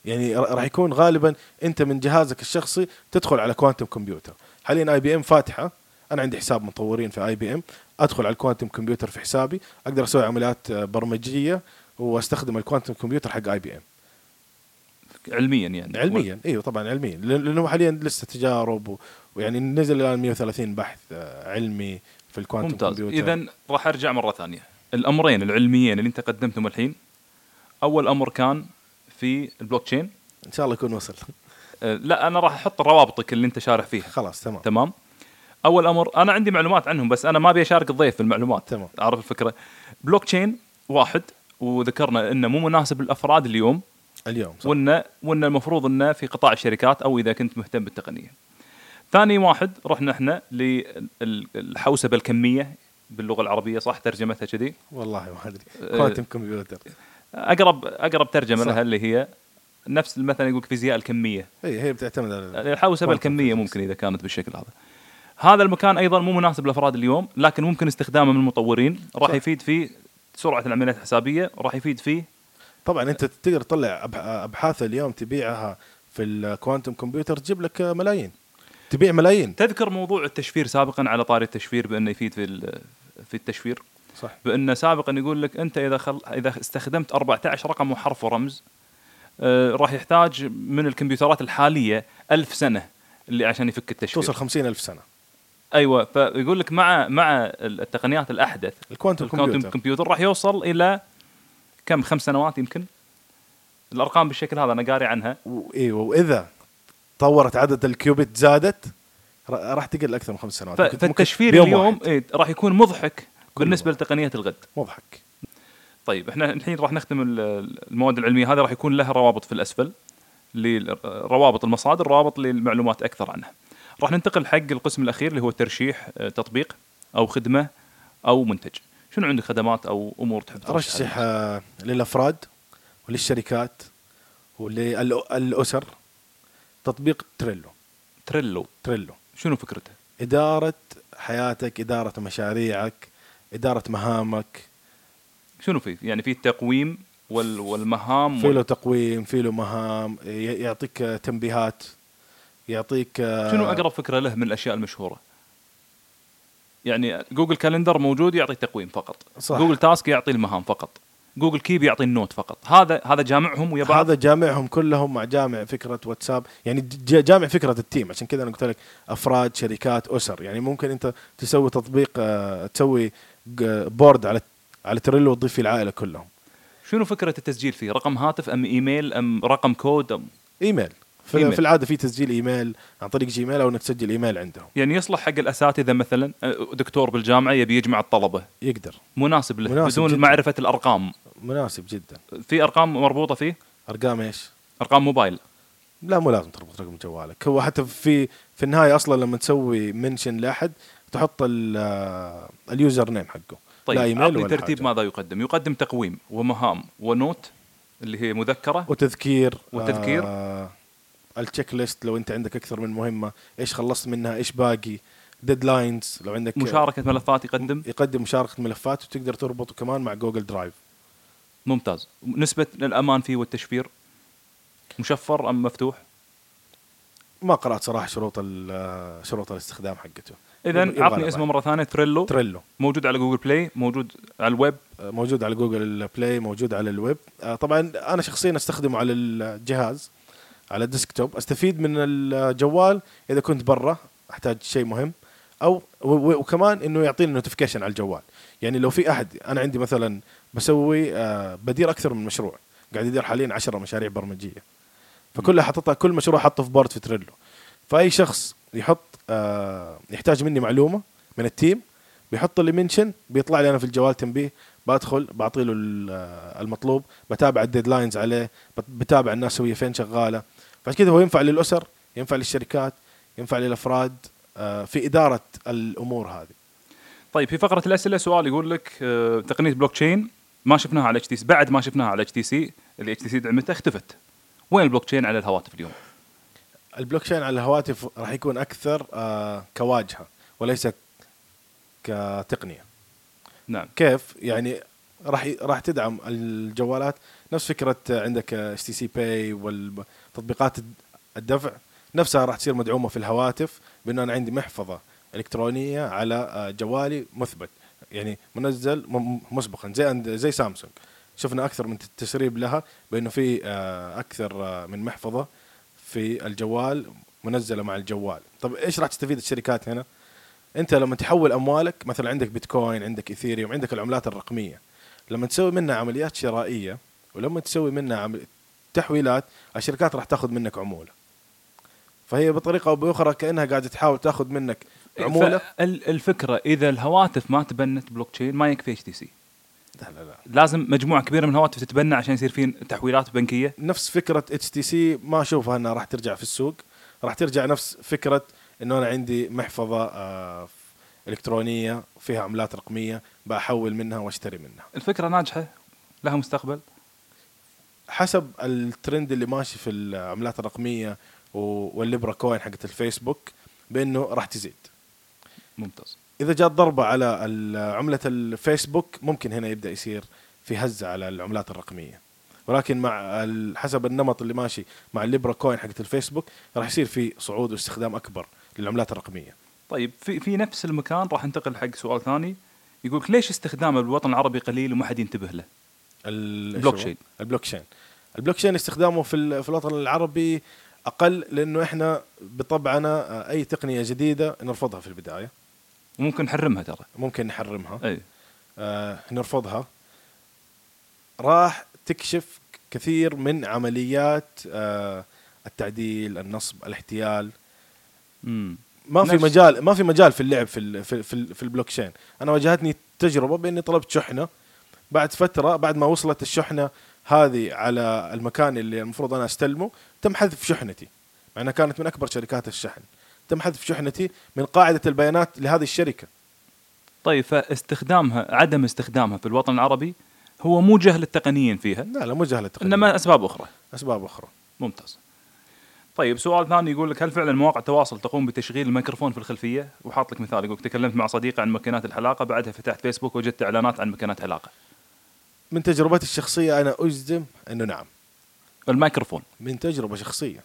يعني ر- راح يكون غالبا انت من جهازك الشخصي تدخل على كوانتم كمبيوتر حاليا اي بي ام فاتحه انا عندي حساب مطورين في اي بي ام ادخل على الكوانتم كمبيوتر في حسابي اقدر اسوي عمليات آه، برمجيه واستخدم الكوانتم كمبيوتر حق اي بي ام
علميا يعني
علميا ايوه طبعا علميا لأن- لانه حاليا لسه تجارب و... ويعني نزل الان 130 بحث آه، علمي في الكوانتم
ممتاز
كمبيوتر
اذا راح ارجع مره ثانيه الامرين العلميين اللي انت قدمتهم الحين اول امر كان في البلوك تشين
ان شاء الله يكون وصل
أه، لا انا راح احط روابطك اللي انت شارح فيها
خلاص تمام
تمام اول امر انا عندي معلومات عنهم بس انا ما ابي اشارك الضيف في المعلومات
تمام.
عارف الفكره بلوك تشين واحد وذكرنا انه مو مناسب للافراد اليوم
اليوم صح
وانه وانه المفروض انه في قطاع الشركات او اذا كنت مهتم بالتقنيه. ثاني واحد رحنا احنا للحوسبه الكميه باللغه العربيه صح ترجمتها كذي
والله ما ادري
آه.
كوانتم كمبيوتر
اقرب اقرب ترجمه
صح.
لها اللي هي نفس مثلا يقول لك فيزياء الكميه
هي هي بتعتمد
أه.
على
الحوسبه الكميه ممكن اذا كانت بالشكل هذا. هذا المكان ايضا مو مناسب لافراد اليوم لكن ممكن استخدامه من المطورين راح
صح.
يفيد في سرعه العمليات الحسابيه راح يفيد في
طبعا انت تقدر تطلع أبح- ابحاث اليوم تبيعها في الكوانتم كمبيوتر تجيب لك ملايين تبيع ملايين
تذكر موضوع التشفير سابقا على طاري التشفير بانه يفيد في ال- في التشفير
صح
بانه سابقا يقول لك انت اذا خل... اذا استخدمت 14 رقم وحرف ورمز آه راح يحتاج من الكمبيوترات الحاليه ألف سنه اللي عشان يفك التشفير
توصل خمسين ألف سنه
ايوه فيقول لك مع مع التقنيات الاحدث
الكوانتم
الكوانتم
كمبيوتر
كمبيوتر راح يوصل الى كم خمس سنوات يمكن الارقام بالشكل هذا انا قاري عنها
و- ايوه واذا طورت عدد الكيوبيت زادت را- راح تقل اكثر من خمس سنوات
ف-
ممكن- ممكن
فالتشفير
بيوم
اليوم
واحد.
إيه راح يكون مضحك
كل
بالنسبه لتقنيه الغد
مضحك
طيب احنا الحين راح نختم ال- المواد العلميه هذه راح يكون لها روابط في الاسفل لل- روابط المصادر روابط للمعلومات اكثر عنها راح ننتقل حق القسم الاخير اللي هو ترشيح آه، تطبيق او خدمه او منتج شنو عندك خدمات او امور تحب ترشحها؟
ارشح آه، للافراد وللشركات وللاسر تطبيق تريلو
تريلو
تريلو
شنو فكرته
اداره حياتك اداره مشاريعك اداره مهامك
شنو فيه يعني في التقويم وال والمهام
في له
وال...
تقويم في له مهام ي- يعطيك آه، تنبيهات يعطيك آه،
شنو اقرب فكره له من الاشياء المشهوره يعني جوجل كالندر موجود يعطي تقويم فقط
صح.
جوجل تاسك يعطي المهام فقط جوجل كيب يعطي النوت فقط هذا هذا جامعهم ويا بعض
هذا جامعهم كلهم مع جامع فكره واتساب يعني ج- جامع فكره التيم عشان كذا انا قلت لك افراد شركات اسر يعني ممكن انت تسوي تطبيق آه، تسوي ج- بورد على على تريلو وتضيف فيه العائله كلهم
شنو فكره التسجيل فيه رقم هاتف ام ايميل ام رقم كود أم
ايميل في,
إيميل.
في العاده في تسجيل ايميل عن طريق جيميل او انك تسجل ايميل عندهم
يعني يصلح حق الاساتذه مثلا أه، دكتور بالجامعه يبي يجمع الطلبه
يقدر
مناسب له
مناسب
بدون
جداً.
معرفه الارقام
مناسب جدا
في ارقام مربوطه فيه
ارقام ايش؟
ارقام موبايل
لا مو لازم تربط رقم جوالك هو حتى في في النهايه اصلا لما تسوي منشن لاحد تحط ال- آه، اليوزر نيم حقه
طيب
لا ايميل
اعطني
ولا
ترتيب
حاجة.
ماذا يقدم يقدم تقويم ومهام ونوت اللي هي مذكره
وتذكير
وتذكير.
آه التشيك ليست لو انت عندك اكثر من مهمه ايش خلصت منها ايش باقي ديدلاينز لو عندك
مشاركه ملفات يقدم
يقدم مشاركه ملفات وتقدر تربطه كمان مع جوجل درايف
ممتاز نسبه الامان فيه والتشفير مشفر ام مفتوح
ما قرات صراحه شروط ال- آه، شروط الاستخدام حقته
اذا
يبغى
اعطني
له
اسمه
بعد.
مره ثانيه تريلو
تريلو
موجود على جوجل بلاي موجود على الويب
آه، موجود على جوجل بلاي موجود على الويب آه، طبعا انا شخصيا استخدمه على الجهاز على الديسكتوب استفيد من الجوال اذا كنت برا احتاج شيء مهم او و- و- وكمان انه يعطيني نوتيفيكيشن على الجوال يعني لو في احد انا عندي مثلا بسوي آه، بدير اكثر من مشروع قاعد يدير حاليا 10 مشاريع برمجيه فكلها حطتها كل مشروع حطه في بورد في تريلو فاي شخص يحط آه، يحتاج مني معلومه من التيم بيحط لي منشن بيطلع لي انا في الجوال تنبيه بدخل بعطي له ال- آه، المطلوب بتابع الديدلاينز عليه بت- بتابع الناس وهي فين شغاله فعشان كذا هو ينفع للاسر ينفع للشركات ينفع للافراد آه، في اداره الامور هذه
طيب في فقره الاسئله سؤال يقول لك آه، تقنيه بلوك تشين ما شفناها على اتش تي سي بعد ما شفناها على اتش تي سي اللي اتش تي سي دعمته اختفت وين البلوك تشين على الهواتف اليوم
البلوك تشين على الهواتف راح يكون اكثر آه، كواجهه وليس كتقنيه
نعم
كيف يعني راح راح تدعم الجوالات نفس فكره عندك اتش تي سي باي والتطبيقات الدفع نفسها راح تصير مدعومه في الهواتف بانه انا عندي محفظه الكترونيه على آه، جوالي مثبت يعني منزل م- مسبقا زي عند- زي سامسونج شفنا اكثر من تسريب لها بانه في آه، اكثر آه، من محفظه في الجوال منزله مع الجوال طب ايش راح تستفيد الشركات هنا انت لما تحول اموالك مثلا عندك بيتكوين عندك ايثيريوم عندك العملات الرقميه لما تسوي منها عمليات شرائيه ولما تسوي منها عمل... تحويلات الشركات راح تاخذ منك عموله فهي بطريقه او باخرى كانها قاعده تحاول تاخذ
إيه،
منك عموله
فال- الفكره اذا الهواتف ما تبنت بلوك تشين ما يكفي اتش تي سي
لا لا لا
لازم مجموعه كبيره من الهواتف تتبنى عشان يصير في تحويلات بنكيه
نفس فكره اتش تي سي ما اشوفها انها راح ترجع في السوق راح ترجع نفس فكره انه انا عندي محفظه آه، الكترونيه فيها عملات رقميه بحول منها واشتري منها
الفكره ناجحه لها مستقبل
حسب الترند اللي ماشي في العملات الرقميه و- والليبرا كوين حقت الفيسبوك بانه راح تزيد
ممتاز
اذا جات ضربه على ال- عمله الفيسبوك ممكن هنا يبدا يصير في هزه على العملات الرقميه ولكن مع ال- حسب النمط اللي ماشي مع الليبرا كوين حقت الفيسبوك راح يصير في صعود واستخدام اكبر للعملات الرقميه
طيب في في نفس المكان راح انتقل حق سؤال ثاني يقولك ليش استخدامه بالوطن العربي قليل وما حد ينتبه له؟
ال-
البلوك
شو؟
تشين.
البلوك تشين البلوك تشين استخدامه في ال- في الوطن العربي اقل لانه احنا بطبعنا آه، اي تقنيه جديده نرفضها في البدايه
وممكن نحرمها ترى
ممكن نحرمها
اي
آه، نرفضها راح تكشف كثير من عمليات آه، التعديل النصب الاحتيال
امم
ما في
نفس-
مجال ما في مجال في اللعب في ال في, ال- في, ال- في البلوكشين انا واجهتني تجربه باني طلبت شحنه بعد فتره بعد ما وصلت الشحنه هذه على المكان اللي المفروض انا استلمه تم حذف شحنتي مع انها كانت من اكبر شركات الشحن تم حذف شحنتي من قاعده البيانات لهذه الشركه
طيب فاستخدامها عدم استخدامها في الوطن العربي هو مو جهل التقنيين فيها
لا لا مو جهله تقنية.
انما اسباب اخرى
اسباب اخرى
ممتاز طيب سؤال ثاني يقول لك هل فعلا مواقع التواصل تقوم بتشغيل الميكروفون في الخلفيه وحاط لك مثال يقول لك تكلمت مع صديقي عن مكانات الحلاقه بعدها فتحت فيسبوك وجدت اعلانات عن مكانات حلاقه
من تجربتي الشخصيه انا اجزم انه نعم
الميكروفون
من تجربه شخصيه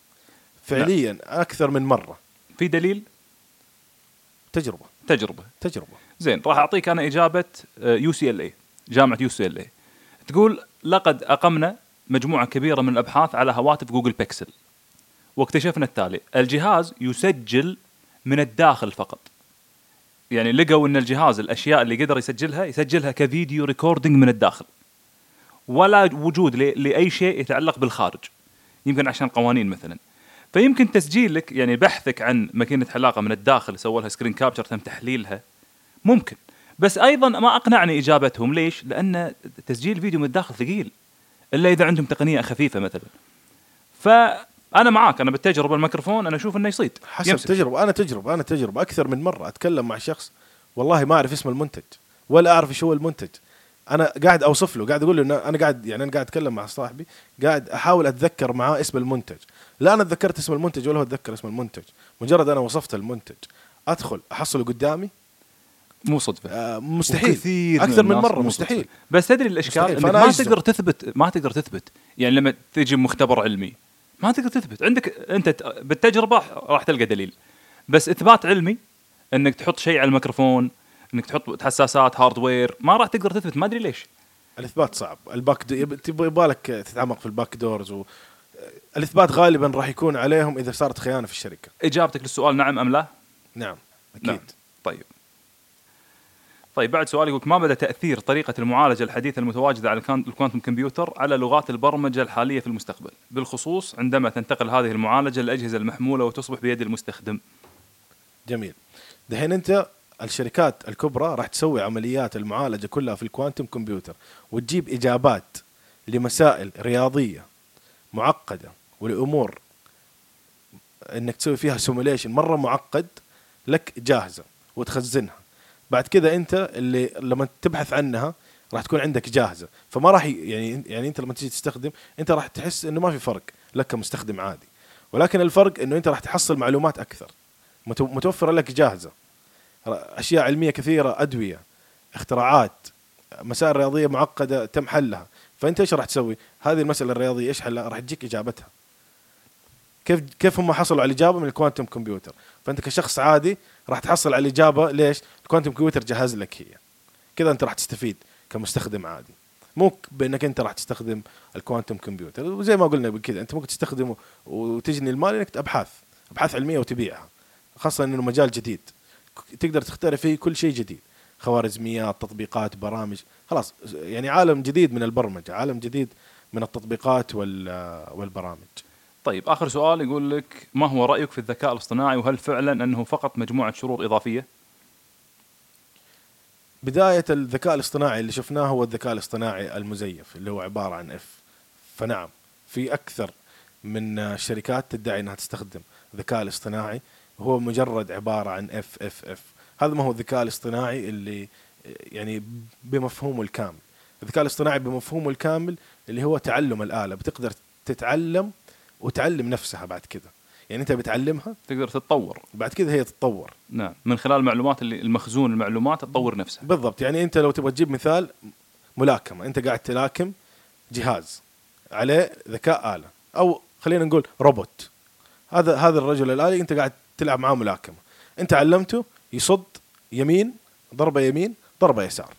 فعليا اكثر من مره
في دليل
تجربه
تجربه
تجربه
زين راح اعطيك انا اجابه آه، يو سي ال اي جامعه يو سي ال اي تقول لقد اقمنا مجموعه كبيره من الابحاث على هواتف جوجل بيكسل واكتشفنا التالي الجهاز يسجل من الداخل فقط يعني لقوا ان الجهاز الاشياء اللي قدر يسجلها يسجلها كفيديو ريكوردينج من الداخل ولا وجود ل- لاي شيء يتعلق بالخارج يمكن عشان قوانين مثلا فيمكن تسجيلك يعني بحثك عن ماكينه حلاقه من الداخل سووا لها سكرين كابتشر تم تحليلها ممكن بس ايضا ما اقنعني اجابتهم ليش؟ لان تسجيل فيديو من الداخل ثقيل الا اذا عندهم تقنيه خفيفه مثلا فانا معاك انا بالتجربه الميكروفون انا اشوف انه يصيد
حسب
يمسك.
تجربه انا تجربه انا تجربه اكثر من مره اتكلم مع شخص والله ما اعرف اسم المنتج ولا اعرف ايش هو المنتج انا قاعد اوصف له قاعد اقول له إنه انا قاعد يعني انا قاعد اتكلم مع صاحبي قاعد احاول اتذكر معاه اسم المنتج لا انا تذكرت اسم المنتج ولا هو تذكر اسم المنتج مجرد انا وصفت المنتج ادخل احصله قدامي
مو صدفه
آه مستحيل
وكثير
اكثر من
الناس
مره
مو
مستحيل
صدفة. بس تدري الاشكال
مستحيل،
انك
فأنا
ما
أجزم.
تقدر تثبت ما تقدر تثبت يعني لما تجي مختبر علمي ما تقدر تثبت عندك انت ت- بالتجربه راح تلقى دليل بس اثبات علمي انك تحط شيء على الميكروفون انك تحط حساسات هاردوير ما راح تقدر تثبت ما ادري ليش
الاثبات صعب الباك دو... يب- تبغى يبالك تتعمق في الباك دورز و... الاثبات غالبا راح يكون عليهم اذا صارت خيانه في الشركه
اجابتك للسؤال نعم ام لا؟
نعم اكيد
نعم
نعم.
طيب طيب بعد سؤال يقول ما مدى تاثير طريقه المعالجه الحديثه المتواجده على الكان- الكوانتم كمبيوتر على لغات البرمجه الحاليه في المستقبل بالخصوص عندما تنتقل هذه المعالجه للاجهزه المحموله وتصبح بيد المستخدم
جميل دحين انت الشركات الكبرى راح تسوي عمليات المعالجه كلها في الكوانتم كمبيوتر وتجيب اجابات لمسائل رياضيه معقده والامور انك تسوي فيها سيموليشن مره معقد لك جاهزه وتخزنها بعد كذا انت اللي لما تبحث عنها راح تكون عندك جاهزه فما راح ي- يعني يعني انت لما تيجي تستخدم انت راح تحس انه ما في فرق لك كمستخدم عادي ولكن الفرق انه انت راح تحصل معلومات اكثر متو- متوفره لك جاهزه ر- اشياء علميه كثيره ادويه اختراعات مسائل رياضيه معقده تم حلها فانت ايش راح تسوي هذه المساله الرياضيه ايش حلها راح تجيك اجابتها كيف كيف هم حصلوا على الاجابه من الكوانتم كمبيوتر فانت كشخص عادي راح تحصل على الاجابه ليش الكوانتم كمبيوتر جهز لك هي كذا انت راح تستفيد كمستخدم عادي مو ك- بانك انت راح تستخدم الكوانتم كمبيوتر وزي ما قلنا كذا انت ممكن تستخدمه وتجني المال انك ابحاث ابحاث علميه وتبيعها خاصه انه مجال جديد ك- تقدر تخترع فيه كل شيء جديد خوارزميات تطبيقات برامج خلاص يعني عالم جديد من البرمجه عالم جديد من التطبيقات وال- والبرامج
طيب اخر سؤال يقول لك ما هو رايك في الذكاء الاصطناعي وهل فعلا انه فقط مجموعه شرور اضافيه
بدايه الذكاء الاصطناعي اللي شفناه هو الذكاء الاصطناعي المزيف اللي هو عباره عن اف فنعم في اكثر من الشركات تدعي انها تستخدم الذكاء الاصطناعي هو مجرد عباره عن اف اف اف هذا ما هو الذكاء الاصطناعي اللي يعني بمفهومه الكامل الذكاء الاصطناعي بمفهومه الكامل اللي هو تعلم الاله بتقدر تتعلم وتعلم نفسها بعد كذا يعني انت بتعلمها
تقدر تتطور
بعد كذا هي تتطور
نعم من خلال المعلومات اللي المخزون المعلومات تطور نفسها
بالضبط يعني انت لو تبغى تجيب مثال ملاكمه انت قاعد تلاكم جهاز عليه ذكاء اله او خلينا نقول روبوت هذا هذا الرجل الالي انت قاعد تلعب معاه ملاكمه انت علمته يصد يمين ضربه يمين ضربه يسار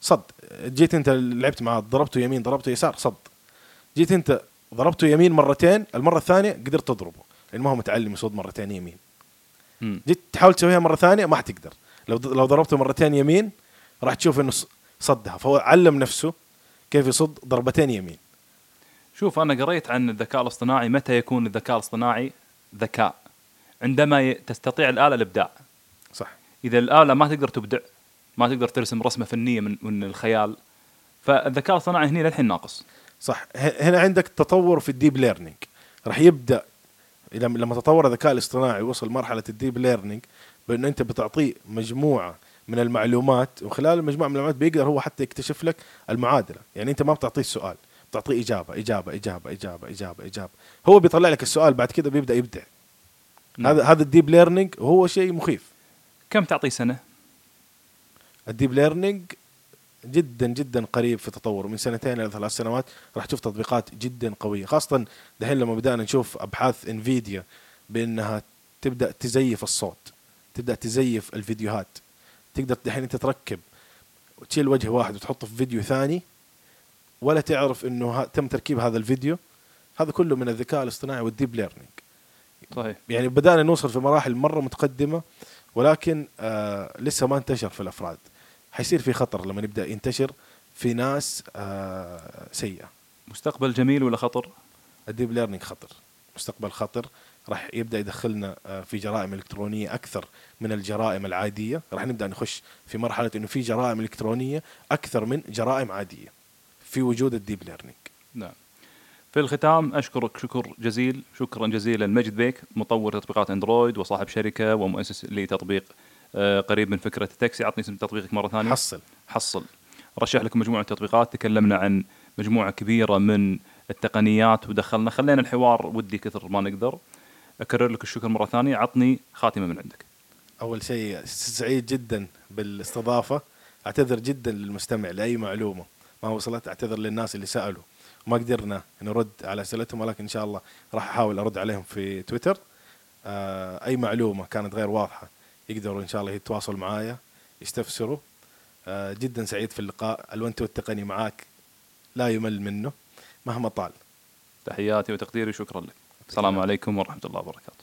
صد جيت انت لعبت معاه ضربته يمين ضربته يسار صد جيت انت ضربته يمين مرتين المره الثانيه قدرت تضربه لان ما هو متعلم يصد مرتين يمين
مم.
جيت تحاول تسويها مره ثانيه ما حتقدر لو لو ضربته مرتين يمين راح تشوف انه ص- صدها فهو علم نفسه كيف يصد ضربتين يمين
شوف انا قريت عن الذكاء الاصطناعي متى يكون الذكاء الاصطناعي ذكاء عندما ي- تستطيع الاله الابداع
صح
اذا الاله ما تقدر تبدع ما تقدر ترسم رسمه فنيه من من الخيال فالذكاء الاصطناعي هنا للحين ناقص
صح ه- هنا عندك تطور في الديب ليرنينج راح يبدا لما لما تطور الذكاء الاصطناعي وصل مرحله الديب ليرنينج بانه انت بتعطيه مجموعه من المعلومات وخلال المجموعه من المعلومات بيقدر هو حتى يكتشف لك المعادله يعني انت ما بتعطيه سؤال بتعطيه اجابه اجابه اجابه اجابه اجابه اجابه هو بيطلع لك السؤال بعد كده بيبدا يبدع
نعم.
هذا هذا الديب ليرنينج هو شيء مخيف
كم تعطيه سنه؟
الديب ليرنينج جدا جدا قريب في تطوره من سنتين الى ثلاث سنوات راح تشوف تطبيقات جدا قويه خاصه دحين لما بدانا نشوف ابحاث انفيديا بانها تبدا تزيف الصوت تبدا تزيف الفيديوهات تقدر دحين انت تركب وتشيل وجه واحد وتحطه في فيديو ثاني ولا تعرف انه ها- تم تركيب هذا الفيديو هذا كله من الذكاء الاصطناعي والديب ليرنينج
صحيح
يعني بدأنا نوصل في مراحل مرة متقدمة ولكن آه لسه ما انتشر في الأفراد حيصير في خطر لما نبدأ ينتشر في ناس آه سيئة
مستقبل جميل ولا خطر؟
الديب ليرنينج خطر مستقبل خطر راح يبدا يدخلنا آه، في جرائم الكترونيه اكثر من الجرائم العاديه راح نبدا نخش في مرحله انه في جرائم الكترونيه اكثر من جرائم عاديه في وجود الديب ليرنينج
نعم في الختام اشكرك شكر جزيل شكرا جزيلا مجد بيك مطور تطبيقات اندرويد وصاحب شركه ومؤسس لتطبيق آه، قريب من فكره التاكسي عطني اسم تطبيقك مره ثانيه
حصل
حصل رشح لكم مجموعه تطبيقات تكلمنا عن مجموعه كبيره من التقنيات ودخلنا خلينا الحوار ودي كثر ما نقدر اكرر لك الشكر مره ثانيه عطني خاتمه من عندك
اول شيء سعيد جدا بالاستضافه اعتذر جدا للمستمع لاي معلومه ما وصلت اعتذر للناس اللي سالوا ما قدرنا نرد على اسئلتهم ولكن ان شاء الله راح احاول ارد عليهم في تويتر آه اي معلومه كانت غير واضحه يقدروا ان شاء الله يتواصلوا معايا يستفسروا آه جدا سعيد في اللقاء الونتو التقني معاك لا يمل منه مهما طال
تحياتي وتقديري شكرا لك السلام عليكم ورحمه الله وبركاته